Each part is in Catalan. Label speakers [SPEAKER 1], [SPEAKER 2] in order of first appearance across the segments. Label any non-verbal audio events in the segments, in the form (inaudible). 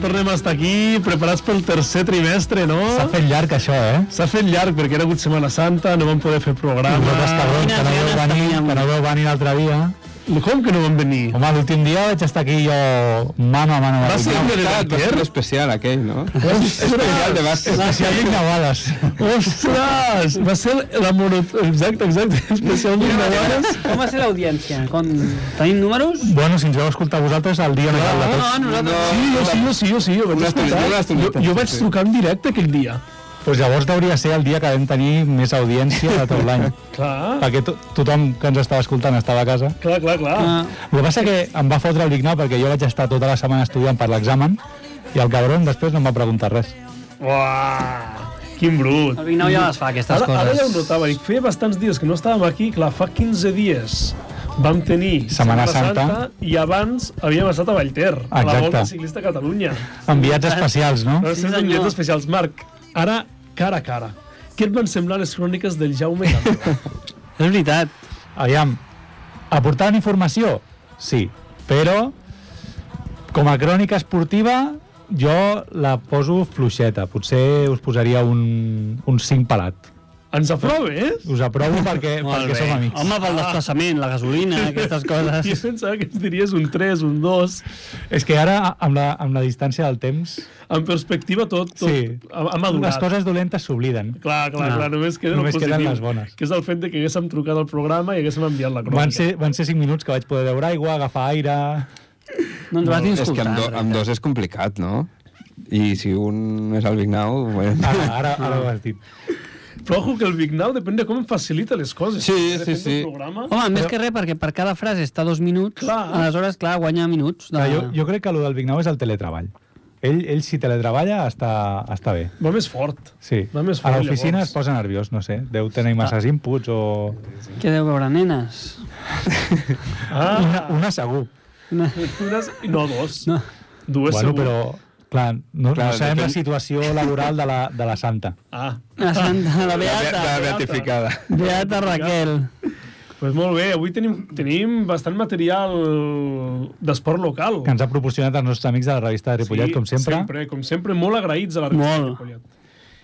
[SPEAKER 1] tornem a estar aquí, preparats pel tercer trimestre, no?
[SPEAKER 2] S'ha fet llarg, això, eh?
[SPEAKER 1] S'ha fet llarg, perquè era hagut Setmana Santa, no vam poder fer programa...
[SPEAKER 2] Tots els cabrons que no
[SPEAKER 3] Quines
[SPEAKER 2] veu
[SPEAKER 3] Ah, ganes
[SPEAKER 2] venir,
[SPEAKER 3] teníem.
[SPEAKER 2] que no veu venir l'altre dia.
[SPEAKER 1] Com que no vam venir?
[SPEAKER 2] Home, l'últim dia vaig estar aquí jo mano a mano. amb
[SPEAKER 3] Ah,
[SPEAKER 1] Va
[SPEAKER 2] el
[SPEAKER 1] ser
[SPEAKER 2] Guillem.
[SPEAKER 1] un
[SPEAKER 4] Veritat, va ser
[SPEAKER 1] verdader?
[SPEAKER 4] especial aquell, no?
[SPEAKER 1] Ostres!
[SPEAKER 4] Especial de bàsquet.
[SPEAKER 2] Especialment de bales.
[SPEAKER 1] Ostres! Va ser la mono... Exacte, exacte, (laughs) especialment de dones.
[SPEAKER 3] Com va ser l'audiència? Com... Tenim números?
[SPEAKER 2] Bueno, si ens veu escoltar vosaltres, el dia no cal de
[SPEAKER 3] No,
[SPEAKER 2] tots.
[SPEAKER 3] no, nosaltres...
[SPEAKER 1] Sí, jo sí, jo sí, jo sí, jo vaig
[SPEAKER 4] Una estoneta,
[SPEAKER 1] escoltar.
[SPEAKER 4] una
[SPEAKER 1] Jo,
[SPEAKER 4] estoneta,
[SPEAKER 1] jo vaig
[SPEAKER 4] sí.
[SPEAKER 1] trucar en directe aquell dia.
[SPEAKER 2] Doncs llavors hauria de ser el dia que vam tenir més audiència de tot
[SPEAKER 3] (laughs)
[SPEAKER 2] l'any.
[SPEAKER 1] Clar,
[SPEAKER 2] perquè to tothom que ens estava escoltant estava a casa.
[SPEAKER 1] clar, clar, clar.
[SPEAKER 3] Ah,
[SPEAKER 2] El que passa que em va fotre el Vignau perquè jo vaig estar tota la setmana estudiant per l'examen i el cabron després no em va preguntar res.
[SPEAKER 1] Uah, quin brut.
[SPEAKER 3] el Vignau ja les fa, aquestes
[SPEAKER 1] Ara, ara ja ho
[SPEAKER 3] coses.
[SPEAKER 1] notava, dic, feia bastants dies que no estàvem aquí, clar, fa 15 dies vam tenir
[SPEAKER 2] Setmana
[SPEAKER 1] i abans havíem estat a Vallter, a la
[SPEAKER 2] Exacte.
[SPEAKER 1] Volta Ciclista a Catalunya.
[SPEAKER 2] Enviats
[SPEAKER 3] Ah.
[SPEAKER 2] especials, no?
[SPEAKER 1] Van
[SPEAKER 3] Sí,
[SPEAKER 1] ser
[SPEAKER 3] senyor.
[SPEAKER 1] sí, especials. Marc, ara, cara a cara, què et van semblar les cròniques del Jaume Candela?
[SPEAKER 3] És veritat.
[SPEAKER 2] Aviam, aportaven informació? Sí, però com a crònica esportiva jo la poso fluixeta. Potser us posaria un, un 5 pelat.
[SPEAKER 1] Ens aproves?
[SPEAKER 2] Us aprovo perquè,
[SPEAKER 3] (laughs) Molt
[SPEAKER 2] perquè
[SPEAKER 3] bé.
[SPEAKER 2] som amics.
[SPEAKER 3] Home, pel desplaçament, la gasolina, aquestes
[SPEAKER 1] Jo
[SPEAKER 3] coses.
[SPEAKER 1] pensava que ens diries un 3, un 2,
[SPEAKER 2] És que ara, a- amb la, amb la distància del temps,
[SPEAKER 1] en perspectiva tot, tot
[SPEAKER 2] Sí.
[SPEAKER 1] ha, ha
[SPEAKER 2] les
[SPEAKER 1] madurat.
[SPEAKER 2] coses dolentes s'obliden.
[SPEAKER 1] Clar, clar,
[SPEAKER 3] No.
[SPEAKER 1] clar, només queda el
[SPEAKER 2] Només queden
[SPEAKER 1] positiu,
[SPEAKER 2] les bones.
[SPEAKER 1] que és el fet de que haguéssim trucat al programa i haguéssim enviat la crònica.
[SPEAKER 2] Van ser, van ser 5 minuts que vaig poder beure aigua, agafar aire...
[SPEAKER 3] No ens vas ni
[SPEAKER 4] És que
[SPEAKER 3] escoltar.
[SPEAKER 4] amb, do,
[SPEAKER 3] en
[SPEAKER 4] amb
[SPEAKER 3] realitat.
[SPEAKER 4] dos és complicat, no? I si un és el Vignau... Bueno.
[SPEAKER 3] (laughs)
[SPEAKER 2] Ara, ara, ara ho has dit.
[SPEAKER 1] Però ojo que el Big Now depèn de com em facilita les coses.
[SPEAKER 4] Sí, sí,
[SPEAKER 1] depèn
[SPEAKER 4] sí.
[SPEAKER 1] Del programa.
[SPEAKER 3] Home, més que res, perquè per cada frase està dos minuts,
[SPEAKER 1] Clar.
[SPEAKER 3] aleshores, clar, guanya minuts. De...
[SPEAKER 2] Clar, jo, jo crec que el del Vignau és el teletreball. Ell, ell si teletreballa, està, està bé.
[SPEAKER 1] Va més fort.
[SPEAKER 2] Sí.
[SPEAKER 1] Va més
[SPEAKER 2] a
[SPEAKER 1] fort,
[SPEAKER 2] l'oficina
[SPEAKER 1] llavors.
[SPEAKER 2] es posa nerviós, no sé. Deu tenir masses inputs o...
[SPEAKER 3] Què deu veure, nenes?
[SPEAKER 2] Una,
[SPEAKER 1] Ah,
[SPEAKER 2] una segur.
[SPEAKER 3] No.
[SPEAKER 1] unes... No, dos.
[SPEAKER 3] No.
[SPEAKER 1] Dues
[SPEAKER 2] bueno,
[SPEAKER 1] segur.
[SPEAKER 2] però... Clar, no,
[SPEAKER 4] Clar,
[SPEAKER 2] no sabem la
[SPEAKER 4] depèn-
[SPEAKER 2] situació laboral de la, de la santa.
[SPEAKER 1] Ah,
[SPEAKER 3] La santa, la
[SPEAKER 4] La, be-
[SPEAKER 3] beata.
[SPEAKER 4] la beatificada.
[SPEAKER 3] Beata Raquel.
[SPEAKER 1] pues molt bé. Avui tenim, tenim bastant material d'esport local.
[SPEAKER 2] Que ens ha proporcionat els nostres amics de la revista de Ripollet, com sempre.
[SPEAKER 1] sempre. Com sempre, molt agraïts a la revista
[SPEAKER 3] Molt.
[SPEAKER 1] de Ripollet.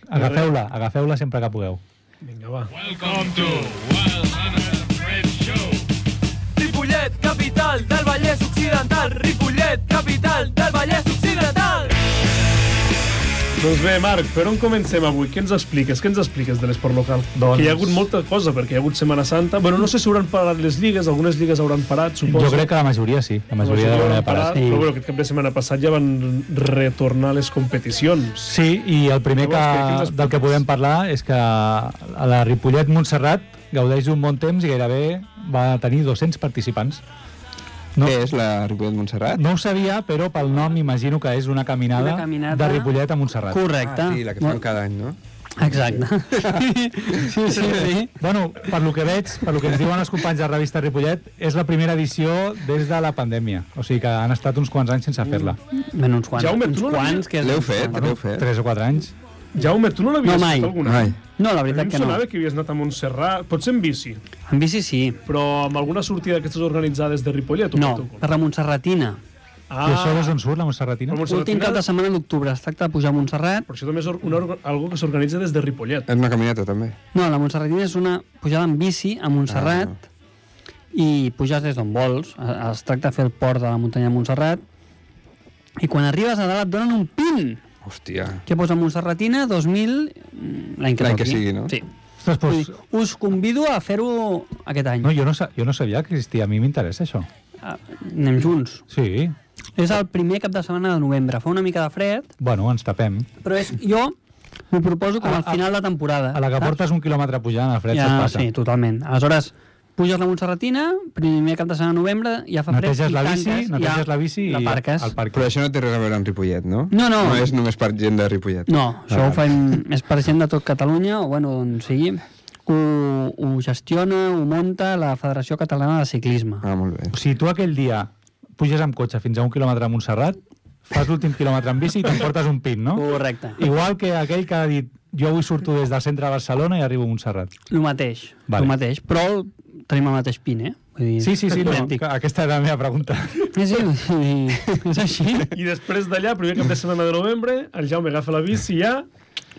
[SPEAKER 2] Agafeu-la, agafeu-la sempre que pugueu.
[SPEAKER 1] Vinga, va.
[SPEAKER 5] Welcome to Wild Hunter Fred Show.
[SPEAKER 6] Ripollet, capital del Vallès Occidental. Ripollet, capital del Vallès Occidental.
[SPEAKER 1] Doncs bé, Marc, per on comencem avui? Què ens expliques? Què ens expliques de l'esport local?
[SPEAKER 2] Doncs-
[SPEAKER 1] Que hi ha hagut molta cosa, perquè hi ha hagut Setmana Santa. Bueno, no sé si hauran parat les lligues, algunes lligues hauran parat, suposo.
[SPEAKER 2] Jo crec que la majoria sí, la majoria de la
[SPEAKER 1] parat,
[SPEAKER 2] parat. Sí.
[SPEAKER 1] però bueno, aquest cap de setmana passat ja van retornar les competicions.
[SPEAKER 2] Sí, i el primer que,
[SPEAKER 1] Llavors, què- què ens expliques?
[SPEAKER 2] del que podem parlar és que a la Ripollet-Montserrat gaudeix d'un bon temps i gairebé va tenir 200 participants. No.
[SPEAKER 4] No. Què és la Ripollet Montserrat?
[SPEAKER 2] No ho sabia, però pel nom imagino que és una caminada,
[SPEAKER 3] Una caminada.
[SPEAKER 2] de Ripollet a Montserrat.
[SPEAKER 3] Correcte.
[SPEAKER 4] Ah, sí, la que
[SPEAKER 3] Molt-
[SPEAKER 4] fem cada any, no?
[SPEAKER 3] Exacte. (laughs) sí, sí, sí.
[SPEAKER 2] Bueno, per lo que veig, per lo que ens diuen els companys de la revista Ripollet, és la primera edició des de la pandèmia. O sigui que han estat uns quants anys sense fer-la.
[SPEAKER 3] Ben, uns quants.
[SPEAKER 1] Jaume,
[SPEAKER 3] uns
[SPEAKER 1] tu no
[SPEAKER 3] quants, que és...
[SPEAKER 4] L'heu
[SPEAKER 3] uns
[SPEAKER 4] fet,
[SPEAKER 3] quants.
[SPEAKER 4] l'heu fet.
[SPEAKER 2] Tres o quatre anys.
[SPEAKER 1] Jaume, tu no l'havies
[SPEAKER 3] No, mai.
[SPEAKER 1] fet alguna?
[SPEAKER 4] Ai.
[SPEAKER 3] No, la
[SPEAKER 1] A mi
[SPEAKER 3] veritat
[SPEAKER 1] em
[SPEAKER 3] que no.
[SPEAKER 1] sonava que havies anat a Montserrat, potser en bici,
[SPEAKER 3] En bici sí.
[SPEAKER 1] però amb alguna sortida d'aquestes organitzades de Ripollet? o
[SPEAKER 3] No,
[SPEAKER 1] com?
[SPEAKER 3] per la Montserratina.
[SPEAKER 1] Ah,
[SPEAKER 2] I això és on surt, la Montserratina?
[SPEAKER 1] però
[SPEAKER 3] Últim cap
[SPEAKER 1] Montserratina...
[SPEAKER 3] de setmana d'octubre. Es tracta de pujar a Montserrat.
[SPEAKER 1] Però això també és or- una, orga- algo que s'organitza des de Ripollet.
[SPEAKER 4] És una caminata, també.
[SPEAKER 3] No, la Montserratina és una pujada en bici a Montserrat i puges des d'on vols. Eh, Es tracta de fer el port de la muntanya de Montserrat i quan arribes a dalt et donen un pin
[SPEAKER 4] Hòstia.
[SPEAKER 3] que posa Montserratina 2000 mm, l'any que,
[SPEAKER 4] L'any que
[SPEAKER 3] toqui.
[SPEAKER 4] sigui, no?
[SPEAKER 3] Sí.
[SPEAKER 2] Ostres,
[SPEAKER 3] Vull
[SPEAKER 2] doncs,
[SPEAKER 3] dir, us convido a fer-ho aquest any.
[SPEAKER 2] no, jo, no, sa- jo no sabia que existia. A mi m'interessa això.
[SPEAKER 3] Ah, Anem junts.
[SPEAKER 2] Sí,
[SPEAKER 3] És el primer cap de setmana de novembre. Fa una mica de fred,
[SPEAKER 2] bueno, ens tapem.
[SPEAKER 3] però és, jo m'ho proposo com
[SPEAKER 2] A-
[SPEAKER 3] al
[SPEAKER 2] a-
[SPEAKER 3] final de temporada.
[SPEAKER 2] A la que
[SPEAKER 3] saps?
[SPEAKER 2] portes un quilòmetre pujant, el fred ja,
[SPEAKER 3] ja,
[SPEAKER 2] se't passa.
[SPEAKER 3] Sí, totalment. Aleshores, puges la Montserratina, primer cap de setmana de novembre, ja fa fred,
[SPEAKER 2] Neteges
[SPEAKER 3] i
[SPEAKER 2] la bici,
[SPEAKER 3] tanques,
[SPEAKER 2] neteges
[SPEAKER 3] ja
[SPEAKER 2] la bici i
[SPEAKER 3] l'aparques.
[SPEAKER 2] al parc.
[SPEAKER 4] Però això no té res a veure amb Ripollet, no?
[SPEAKER 3] No, no.
[SPEAKER 4] No és només per gent de Ripollet.
[SPEAKER 3] No, això ho fem, és per gent de tot Catalunya, o bueno, on sigui, ho, ho gestiona, ho munta la Federació Catalana de Ciclisme.
[SPEAKER 4] Ah, molt bé.
[SPEAKER 2] O sigui, tu aquell dia puges amb cotxe fins a un quilòmetre a Montserrat, fas l'últim quilòmetre en bici i t'emportes un pin, no?
[SPEAKER 3] Correcte.
[SPEAKER 2] Igual que aquell que ha dit jo avui surto des del centre de Barcelona i arribo a Montserrat.
[SPEAKER 3] El mateix,
[SPEAKER 2] Vale.
[SPEAKER 3] vale. mateix. Però tenim el mateix pin, eh? Vull dir,
[SPEAKER 2] Sí, sí, sí, no,
[SPEAKER 3] idèntic.
[SPEAKER 2] que aquesta era la meva pregunta.
[SPEAKER 3] Sí, sí, vull dir, és així.
[SPEAKER 1] I després d'allà, primer cap de setmana de novembre, el Jaume agafa la bici ja,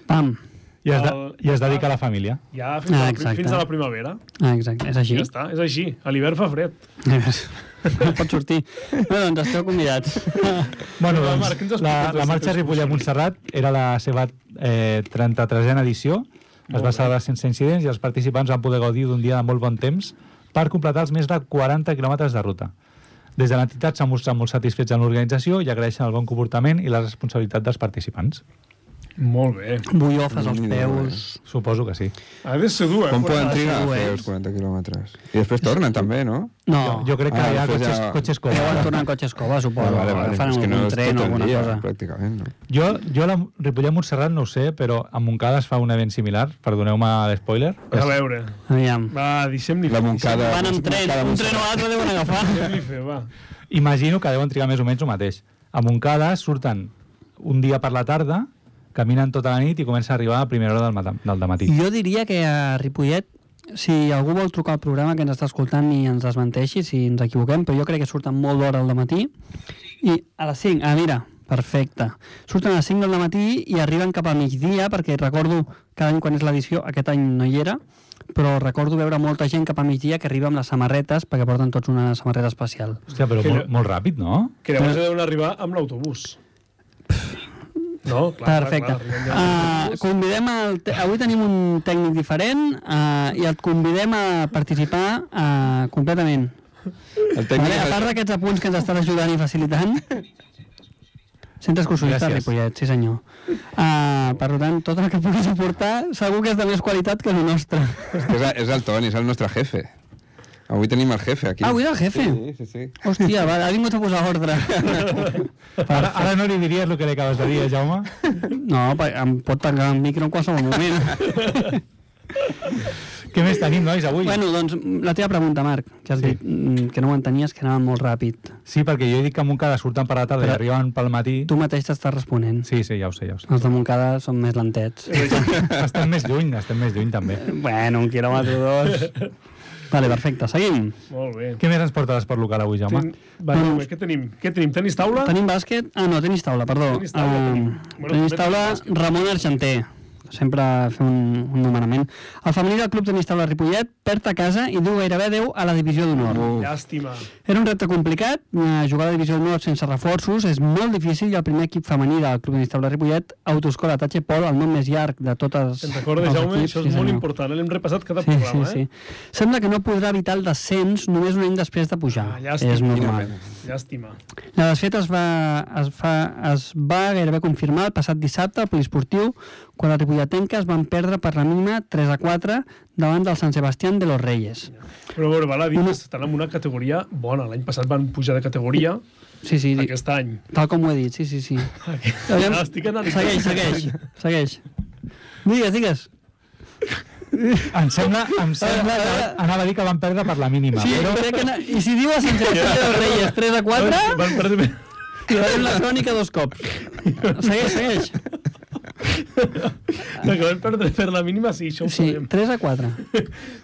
[SPEAKER 3] Pam.
[SPEAKER 2] I es, de,
[SPEAKER 1] El-
[SPEAKER 2] i es dedica a la família.
[SPEAKER 1] ja fins, ah,
[SPEAKER 3] Ah,
[SPEAKER 1] a, la,
[SPEAKER 3] exacte.
[SPEAKER 1] fins a la primavera.
[SPEAKER 3] Ah, exacte, és així.
[SPEAKER 1] Ja està, és així. A l'hivern fa fred.
[SPEAKER 3] No (laughs) pot sortir. Bé, doncs esteu convidats.
[SPEAKER 2] (laughs) Bueno,
[SPEAKER 1] Però,
[SPEAKER 2] doncs,
[SPEAKER 1] Marc, què ens expliques
[SPEAKER 2] la,
[SPEAKER 1] dels
[SPEAKER 2] la
[SPEAKER 1] altres
[SPEAKER 2] marxa Ripollet-Montserrat era la seva eh, 33a edició. Es va celebrar sense incidents i els participants van poder gaudir d'un dia de molt bon temps per completar els més de 40 quilòmetres de ruta. Des de l'entitat s'han mostrat molt satisfets en l'organització i agraeixen el bon comportament i la responsabilitat dels participants.
[SPEAKER 1] Molt bé.
[SPEAKER 3] Bullofes als
[SPEAKER 4] Ni idea,
[SPEAKER 3] peus.
[SPEAKER 2] Suposo que sí.
[SPEAKER 1] Ha de ser dur, eh?
[SPEAKER 4] Com poden
[SPEAKER 1] Quan-
[SPEAKER 4] trigar a
[SPEAKER 3] segur,
[SPEAKER 4] fer
[SPEAKER 3] eh?
[SPEAKER 4] els 40 quilòmetres? I després tornen, també, no?
[SPEAKER 3] No,
[SPEAKER 2] Jo crec que
[SPEAKER 4] Ah,
[SPEAKER 2] hi ha
[SPEAKER 4] després
[SPEAKER 2] cotxes,
[SPEAKER 4] ja-
[SPEAKER 2] cotxes
[SPEAKER 3] deuen
[SPEAKER 2] cobra.
[SPEAKER 3] tornar en cotxe escola, suposo. Vale, vale, Fan
[SPEAKER 4] és que
[SPEAKER 3] algun
[SPEAKER 4] no és
[SPEAKER 3] tren
[SPEAKER 4] tot
[SPEAKER 3] o
[SPEAKER 4] el
[SPEAKER 3] alguna
[SPEAKER 4] dia,
[SPEAKER 3] cosa.
[SPEAKER 4] pràcticament, no?
[SPEAKER 2] Jo, jo a la Ripollet-Montserrat no ho sé, però a Montcada es fa un event similar. Perdoneu-me l'espoiler.
[SPEAKER 1] A veure.
[SPEAKER 3] Aviam.
[SPEAKER 1] Va, deixem-li
[SPEAKER 4] La
[SPEAKER 1] fer.
[SPEAKER 4] Montcada...
[SPEAKER 3] Van amb tren,
[SPEAKER 4] Montcada-
[SPEAKER 3] un tren o l'altre deuen
[SPEAKER 4] (laughs)
[SPEAKER 3] agafar.
[SPEAKER 1] Deixem-li fer, va.
[SPEAKER 2] Imagino que deuen trigar més o menys el mateix. A Montcada surten un dia per la tarda, caminen tota la nit i comença a arribar a primera hora del, mata- del dematí.
[SPEAKER 3] Jo diria que a Ripollet, si algú vol trucar al programa que ens està escoltant i ens desmenteixi, si ens equivoquem, però jo crec que surten molt d'hora al matí i a les 5, ah, mira, perfecte. Surten a les 5 del matí i arriben cap al migdia, perquè recordo cada any quan és l'edició, aquest any no hi era, però recordo veure molta gent cap al migdia que arriba amb les samarretes, perquè porten tots una samarreta especial.
[SPEAKER 2] Hòstia, però
[SPEAKER 1] Que
[SPEAKER 2] molt,
[SPEAKER 1] no-
[SPEAKER 2] molt ràpid, no?
[SPEAKER 1] Que llavors ja deuen arribar amb l'autobús. No? Clar,
[SPEAKER 3] Perfecte.
[SPEAKER 1] Clar, clar, arribem ja amb
[SPEAKER 3] Uh,
[SPEAKER 1] l'autobús.
[SPEAKER 3] convidem el te- avui tenim un tècnic diferent uh, i et convidem a participar uh, completament.
[SPEAKER 4] El
[SPEAKER 3] Vale?
[SPEAKER 4] tècnic...
[SPEAKER 3] A part d'aquests apunts que ens estan ajudant i facilitant, Centre excursionista
[SPEAKER 2] Gràcies.
[SPEAKER 3] Ripollet, sí senyor. Uh, per tant, tot el que puguis aportar segur que és de més qualitat que el nostre.
[SPEAKER 4] és, que és, és el Toni, és el nostre jefe. Avui tenim el jefe aquí.
[SPEAKER 3] Ah, avui és el jefe?
[SPEAKER 4] Sí, sí, sí.
[SPEAKER 3] Hòstia, va, ha vingut a posar ordre. (laughs)
[SPEAKER 2] Ara, ara no li diries el que li acabes de dir, eh, Jaume.
[SPEAKER 3] No, pa- em pot tancar el micro en qualsevol (laughs) moment.
[SPEAKER 2] Què més tenim, nois, avui?
[SPEAKER 3] Bueno, doncs, la teva pregunta, Marc, que has
[SPEAKER 2] Sí.
[SPEAKER 3] sí. dit mm, que no ho entenies, que anava molt ràpid.
[SPEAKER 2] Sí, perquè jo he dit que a Montcada surten per la tarda i
[SPEAKER 3] Però-
[SPEAKER 2] arriben pel matí.
[SPEAKER 3] Tu mateix t'estàs responent.
[SPEAKER 2] Sí, sí, ja ho sé, ja ho sé.
[SPEAKER 3] Els de Montcada són més lentets.
[SPEAKER 2] estem més lluny, estem més lluny, també.
[SPEAKER 3] bueno, un quilòmetre o dos. Vale, perfecte, seguim.
[SPEAKER 1] Molt bé.
[SPEAKER 2] Què més ens porta l'esport local avui, Jaume?
[SPEAKER 1] Ten... Va,
[SPEAKER 3] Doncs-
[SPEAKER 1] Jaume, què tenim? Què tenim? Tenis taula?
[SPEAKER 3] Tenim bàsquet... Ah, no, tenis taula, perdó.
[SPEAKER 1] Tenis taula
[SPEAKER 3] Ah,
[SPEAKER 1] tenim. Bueno,
[SPEAKER 3] tenis
[SPEAKER 1] també
[SPEAKER 3] taula,
[SPEAKER 1] tenim
[SPEAKER 3] Ramon Argenter. Sempre fer un, un nomenament. El femení del Club Tenis Taula Ripollet perd a casa i du gairebé 10 a la divisió d'honor.
[SPEAKER 1] Oh. Llàstima.
[SPEAKER 3] Era un repte complicat, eh, jugar a la divisió d'honor sense reforços és molt difícil i el primer equip femení del Club Tenis Taula Ripollet autoscola Tatxe Pol, el nom més llarg de totes
[SPEAKER 1] Te'n recordes,
[SPEAKER 3] els
[SPEAKER 1] Jaume?
[SPEAKER 3] equips,
[SPEAKER 1] Això
[SPEAKER 3] sí,
[SPEAKER 1] és molt
[SPEAKER 3] senyor.
[SPEAKER 1] important. eh? L'hem repassat cada
[SPEAKER 3] Sí, sí,
[SPEAKER 1] programa, eh?
[SPEAKER 3] sí. Sembla que no podrà evitar el descens només un any després de pujar.
[SPEAKER 1] Ah, llàstima.
[SPEAKER 3] és normal.
[SPEAKER 1] eh? Llàstima.
[SPEAKER 3] La desfeta es va, es, fa, es va gairebé confirmar el passat dissabte al poliesportiu quan les ripolletenques van perdre per la mínima 3 a 4 davant del Sant Sebastián de los Reyes.
[SPEAKER 1] Però, bueno, val a dir que estan en una categoria bona. L'any passat van pujar de categoria,
[SPEAKER 3] Sí, sí, di-
[SPEAKER 1] aquest any.
[SPEAKER 3] tal com ho he dit, sí,
[SPEAKER 1] (laughs)
[SPEAKER 3] sí, sí. Aviam,
[SPEAKER 1] Ara estic analitzant.
[SPEAKER 3] segueix, segueix, segueix. Digues, digues.
[SPEAKER 2] Em sembla, em
[SPEAKER 1] Eh,
[SPEAKER 2] sembla que anava a dir que van perdre per la mínima,
[SPEAKER 3] Sí,
[SPEAKER 2] però...
[SPEAKER 3] crec que na- I si diu a Sant Sebastián de los Reyes 3 a
[SPEAKER 1] (laughs)
[SPEAKER 3] 4,
[SPEAKER 1] Van perdre...
[SPEAKER 3] farem la crònica dos cops. Segueix, segueix.
[SPEAKER 1] de que van perdre per la mínima, sí, això ho
[SPEAKER 3] Sí,
[SPEAKER 1] sabem.
[SPEAKER 3] 3 a 4.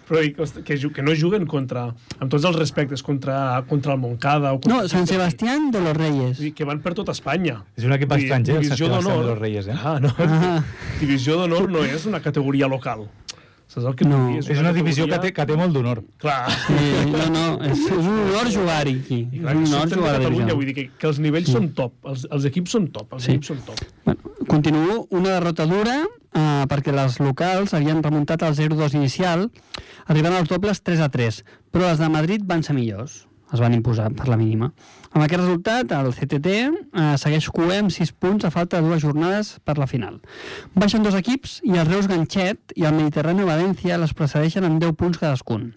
[SPEAKER 1] Però i que, que, ju- que no juguen contra... Amb tots els respectes, contra, contra el Montcada o contra...
[SPEAKER 3] No, Sant Sebastián de los Reyes.
[SPEAKER 1] Vull dir, que van per tota Espanya.
[SPEAKER 2] És un equip
[SPEAKER 1] Vull dir,
[SPEAKER 2] estranger, el Sant
[SPEAKER 1] Divisió
[SPEAKER 2] Sebastián de
[SPEAKER 1] d'Honor-
[SPEAKER 2] los Reyes, eh?
[SPEAKER 1] Ah, no.
[SPEAKER 3] Ah.
[SPEAKER 1] Divisió d'honor no és una categoria local. Saps el que
[SPEAKER 3] No.
[SPEAKER 1] vull dir?
[SPEAKER 2] És una divisió que té, que té molt d'honor.
[SPEAKER 1] Clar.
[SPEAKER 3] (laughs) Sí, no, no, és, és un honor jugar-hi aquí.
[SPEAKER 1] I
[SPEAKER 3] És
[SPEAKER 1] clar,
[SPEAKER 3] un
[SPEAKER 1] que
[SPEAKER 3] honor
[SPEAKER 1] surten de
[SPEAKER 3] jugar a la
[SPEAKER 1] Catalunya,
[SPEAKER 3] divisió.
[SPEAKER 1] vull dir que, que els nivells són top, els, els equips són top, els
[SPEAKER 3] Sí.
[SPEAKER 1] equips són top.
[SPEAKER 3] Bueno, continuo una derrota dura eh, perquè les locals havien remuntat al 0-2 inicial, arribant als dobles 3-3, però les de Madrid van ser millors. Es van imposar per la mínima. Amb aquest resultat, el CTT eh, segueix cué amb 6 punts a falta de dues jornades per la final. Baixen dos equips i el Reus Ganxet i el Mediterrani València les precedeixen amb 10 punts cadascun.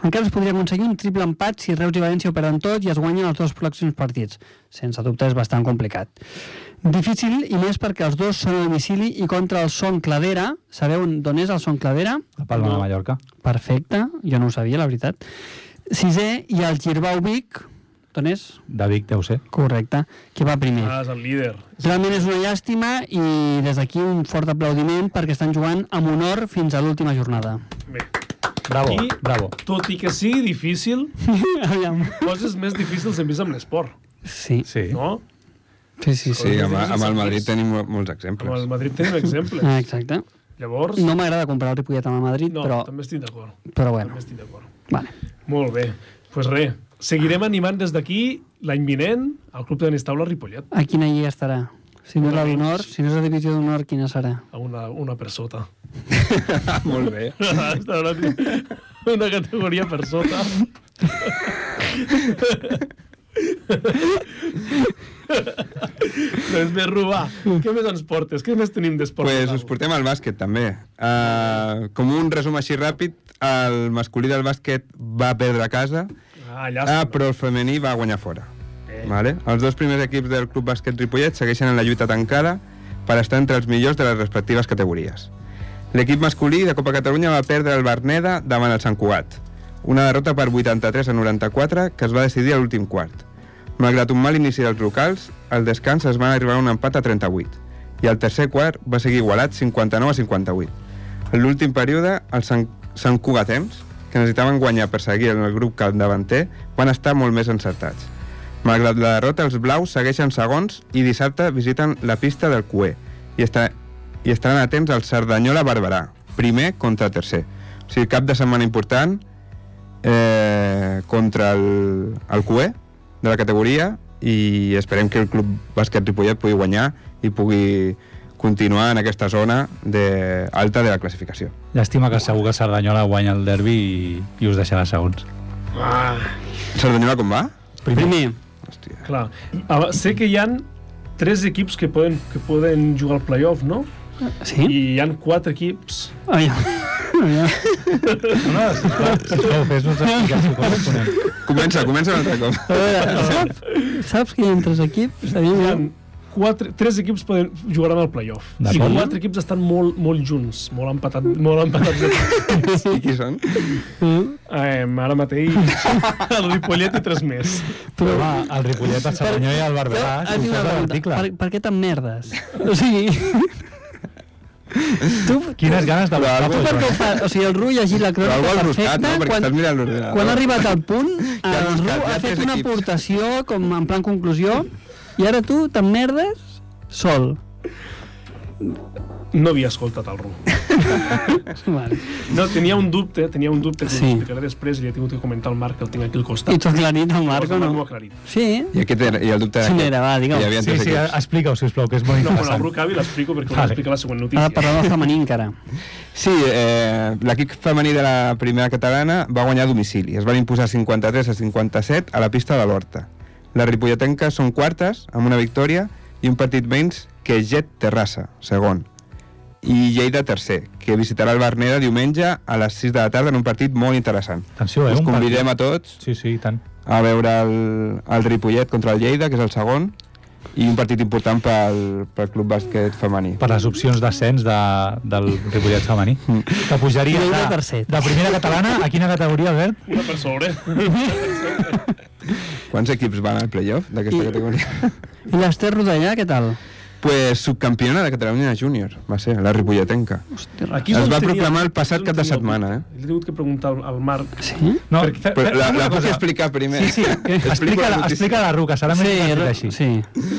[SPEAKER 3] Encara es podria aconseguir un triple empat si Reus i València ho perden tot i es guanyen els dos pròxims partits. Sense dubte és bastant complicat. Difícil i més perquè els dos són a domicili i contra el Son Cladera. Sabeu on- d'on és el Son Cladera?
[SPEAKER 2] La Palma de Mallorca.
[SPEAKER 3] Perfecte, jo no ho sabia, la veritat. Sisè i el Girbau Vic. D'on és?
[SPEAKER 2] De Vic, deu ser.
[SPEAKER 3] Correcte, que va primer.
[SPEAKER 1] Ah, és el líder.
[SPEAKER 3] Realment és una llàstima i des d'aquí un fort aplaudiment perquè estan jugant amb honor fins a l'última jornada.
[SPEAKER 1] Bé,
[SPEAKER 2] Bravo,
[SPEAKER 1] I,
[SPEAKER 2] bravo.
[SPEAKER 1] tot i que sigui difícil,
[SPEAKER 3] Aviam.
[SPEAKER 1] coses més difícils hem vist amb l'esport,
[SPEAKER 3] Sí,
[SPEAKER 2] Sí.
[SPEAKER 1] no?
[SPEAKER 3] sí, sí. sí.
[SPEAKER 4] Sí, amb, amb el Madrid
[SPEAKER 1] Sentits.
[SPEAKER 4] tenim mo-
[SPEAKER 1] Amb
[SPEAKER 4] molts
[SPEAKER 1] el
[SPEAKER 4] exemples.
[SPEAKER 1] Madrid tenim exemples.
[SPEAKER 3] Ah, exacte.
[SPEAKER 1] Llavors,
[SPEAKER 3] No m'agrada comparar el Ripollet amb el Madrid,
[SPEAKER 1] no
[SPEAKER 3] però,
[SPEAKER 1] també estic d'acord. També
[SPEAKER 3] però bueno.
[SPEAKER 1] estic d'acord.
[SPEAKER 3] Vale.
[SPEAKER 1] Molt bé. Doncs pues res, seguirem animant des d'aquí l'any vinent al Club Tenis Taula Ripollet.
[SPEAKER 3] A quina lliga estarà? Si no és la d'honor, si no és la divisió d'honor, quina serà?
[SPEAKER 1] A una, una per sota.
[SPEAKER 4] Molt bé.
[SPEAKER 1] Està una, una categoria per sota. doncs bé, Rubà, què més ens portes? Què més tenim d'esport?
[SPEAKER 4] pues
[SPEAKER 1] local?
[SPEAKER 4] us portem al bàsquet, també. Uh, com un resum així ràpid, el masculí del bàsquet va perdre a casa,
[SPEAKER 1] Ah,
[SPEAKER 4] ah,
[SPEAKER 1] llàstima.
[SPEAKER 4] però el femení va guanyar fora.
[SPEAKER 1] Eh.
[SPEAKER 4] Vale? Els dos primers equips del Club Bàsquet Ripollet segueixen en la lluita tancada per estar entre els millors de les respectives categories. L'equip masculí de Copa Catalunya va perdre el Berneda davant el Sant Cugat. Una derrota per 83 a 94 que es va decidir a l'últim quart. Malgrat un mal inici dels locals, al descans es van arribar a un empat a 38 i el tercer quart va seguir igualat 59 a 58. En l'últim període, els Sant, Sant Cugatems, eh? que necessitaven guanyar per seguir en el grup capdavanter, van estar molt més encertats. Malgrat la derrota, els blaus segueixen segons i dissabte visiten la pista del Cué i, està, i estaran a temps al Cerdanyola-Barberà, primer contra tercer. O sigui, cap de setmana important eh, contra el, el Cué de la categoria i esperem que el Club Bàsquet Ripollet pugui guanyar i pugui continuar en aquesta zona de, alta de la classificació.
[SPEAKER 2] Llàstima que segur que Cerdanyola guanya el derbi i, i us deixarà segons.
[SPEAKER 4] Cerdanyola com va?
[SPEAKER 3] Primer,
[SPEAKER 4] Hòstia.
[SPEAKER 1] Clar. Ah, sé que hi han tres equips que poden, que poden jugar al playoff, no?
[SPEAKER 3] sí? Ah,
[SPEAKER 1] I hi han quatre equips.
[SPEAKER 3] (laughs) Aviam. Aviam.
[SPEAKER 2] No, no, sisplau, sisplau fes-nos explicació com ho conec.
[SPEAKER 4] Comença, comença un altre
[SPEAKER 3] A
[SPEAKER 4] cop.
[SPEAKER 3] veure, saps, saps que hi ha tres equips?
[SPEAKER 1] Hi ha
[SPEAKER 3] Aviam,
[SPEAKER 1] quatre, tres equips poden, jugaran al playoff. I
[SPEAKER 2] D'acord.
[SPEAKER 1] quatre equips estan molt, molt junts, molt empatat, molt
[SPEAKER 4] (laughs)
[SPEAKER 1] empatats.
[SPEAKER 4] I qui són?
[SPEAKER 1] eh, ara (laughs) mateix el Ripollet i tres més.
[SPEAKER 2] Però, home, el Ripollet, el Cerdanyola i el Barberà,
[SPEAKER 3] Però, et
[SPEAKER 2] si ho fas
[SPEAKER 3] dic Ah, una
[SPEAKER 2] a
[SPEAKER 3] pregunta,
[SPEAKER 2] l'article.
[SPEAKER 3] per, per què t'emmerdes? O sigui... tu,
[SPEAKER 2] Quines ganes de
[SPEAKER 4] Però
[SPEAKER 2] buscar
[SPEAKER 4] algú-
[SPEAKER 2] però,
[SPEAKER 3] per què ho fa? O sigui, el Ru llegit la
[SPEAKER 4] Però
[SPEAKER 3] crònica
[SPEAKER 4] algú has buscat,
[SPEAKER 3] perfecta
[SPEAKER 4] no? Perquè
[SPEAKER 3] quan,
[SPEAKER 4] estàs mirant l'ordenador.
[SPEAKER 3] quan ha arribat al
[SPEAKER 4] (laughs)
[SPEAKER 3] punt,
[SPEAKER 4] Ja has
[SPEAKER 3] el Ru
[SPEAKER 4] buscat, ja
[SPEAKER 3] ha
[SPEAKER 4] tres
[SPEAKER 3] fet una
[SPEAKER 4] equips.
[SPEAKER 3] aportació com en plan conclusió i ara tu t'emmerdes sol.
[SPEAKER 1] No havia escoltat el Ru.
[SPEAKER 3] Vale.
[SPEAKER 1] No, tenia un dubte, tenia un dubte que
[SPEAKER 3] Sí.
[SPEAKER 1] sí. explicaré després i li he tingut que comentar al Marc, que el tinc aquí al
[SPEAKER 3] I
[SPEAKER 1] costat.
[SPEAKER 3] t'ho aclarit el Marc o
[SPEAKER 1] Llavors, el Marc m'ho
[SPEAKER 3] no?
[SPEAKER 1] ha aclarit.
[SPEAKER 3] Sí,
[SPEAKER 4] I, aquest era, i el dubte
[SPEAKER 3] Sí,
[SPEAKER 4] aquest,
[SPEAKER 3] mira, va, digue'm.
[SPEAKER 4] que hi havia
[SPEAKER 2] eh? Sí,
[SPEAKER 4] tres
[SPEAKER 2] sí,
[SPEAKER 4] equips.
[SPEAKER 2] explica-ho, sisplau, que és molt
[SPEAKER 1] No, quan el
[SPEAKER 2] interessant.
[SPEAKER 1] Ru acabi l'explico perquè
[SPEAKER 2] Vale.
[SPEAKER 1] vale. l'explica la següent
[SPEAKER 3] ara
[SPEAKER 1] notícia.
[SPEAKER 3] parlem del femení (laughs) encara.
[SPEAKER 4] Sí, eh, l'equip femení de la primera catalana va guanyar a domicili. Es van imposar 53 a 57 a la pista de l'Horta. Les ripolletenques són quartes, amb una victòria i un partit menys que Jet Terrassa, segon. I Lleida tercer, que visitarà el Berneda diumenge a les 6 de la tarda en un partit molt interessant.
[SPEAKER 2] Atenció, eh?
[SPEAKER 4] Us
[SPEAKER 2] un
[SPEAKER 4] convidem
[SPEAKER 2] partit.
[SPEAKER 4] a tots
[SPEAKER 2] Sí, sí, i tant.
[SPEAKER 4] a veure el, el Ripollet contra el Lleida, que és el segon, i un partit important pel, pel Club Bàsquet femení.
[SPEAKER 2] Per les opcions d'ascens de, del Ripollet femení. Que pujaria
[SPEAKER 3] Lleida
[SPEAKER 2] de,
[SPEAKER 3] tercer.
[SPEAKER 2] de primera catalana a quina categoria, Albert?
[SPEAKER 1] Una per sobre.
[SPEAKER 4] Quants equips van al playoff d'aquesta categoria?
[SPEAKER 2] (laughs)
[SPEAKER 3] I l'Ester Rodellà, què tal?
[SPEAKER 4] pues subcampiona de Catalunya Júnior, va ser, la Ripolletenca.
[SPEAKER 1] Aquí
[SPEAKER 4] Es
[SPEAKER 1] és on
[SPEAKER 4] va
[SPEAKER 1] tenia-
[SPEAKER 4] proclamar el passat
[SPEAKER 1] és on
[SPEAKER 4] cap de
[SPEAKER 1] tenia el
[SPEAKER 4] setmana,
[SPEAKER 1] dubte.
[SPEAKER 4] eh?
[SPEAKER 1] Li he tingut que preguntar al, al Marc.
[SPEAKER 3] Sí?
[SPEAKER 2] No, fe,
[SPEAKER 4] Però la,
[SPEAKER 2] fem una
[SPEAKER 4] la puc
[SPEAKER 2] cosa.
[SPEAKER 4] explicar primer. (laughs)
[SPEAKER 2] Sí, sí, explica, la, explica la Ruca, serà més
[SPEAKER 3] Sí,
[SPEAKER 2] divertit
[SPEAKER 3] Ru-
[SPEAKER 2] així.
[SPEAKER 3] sí.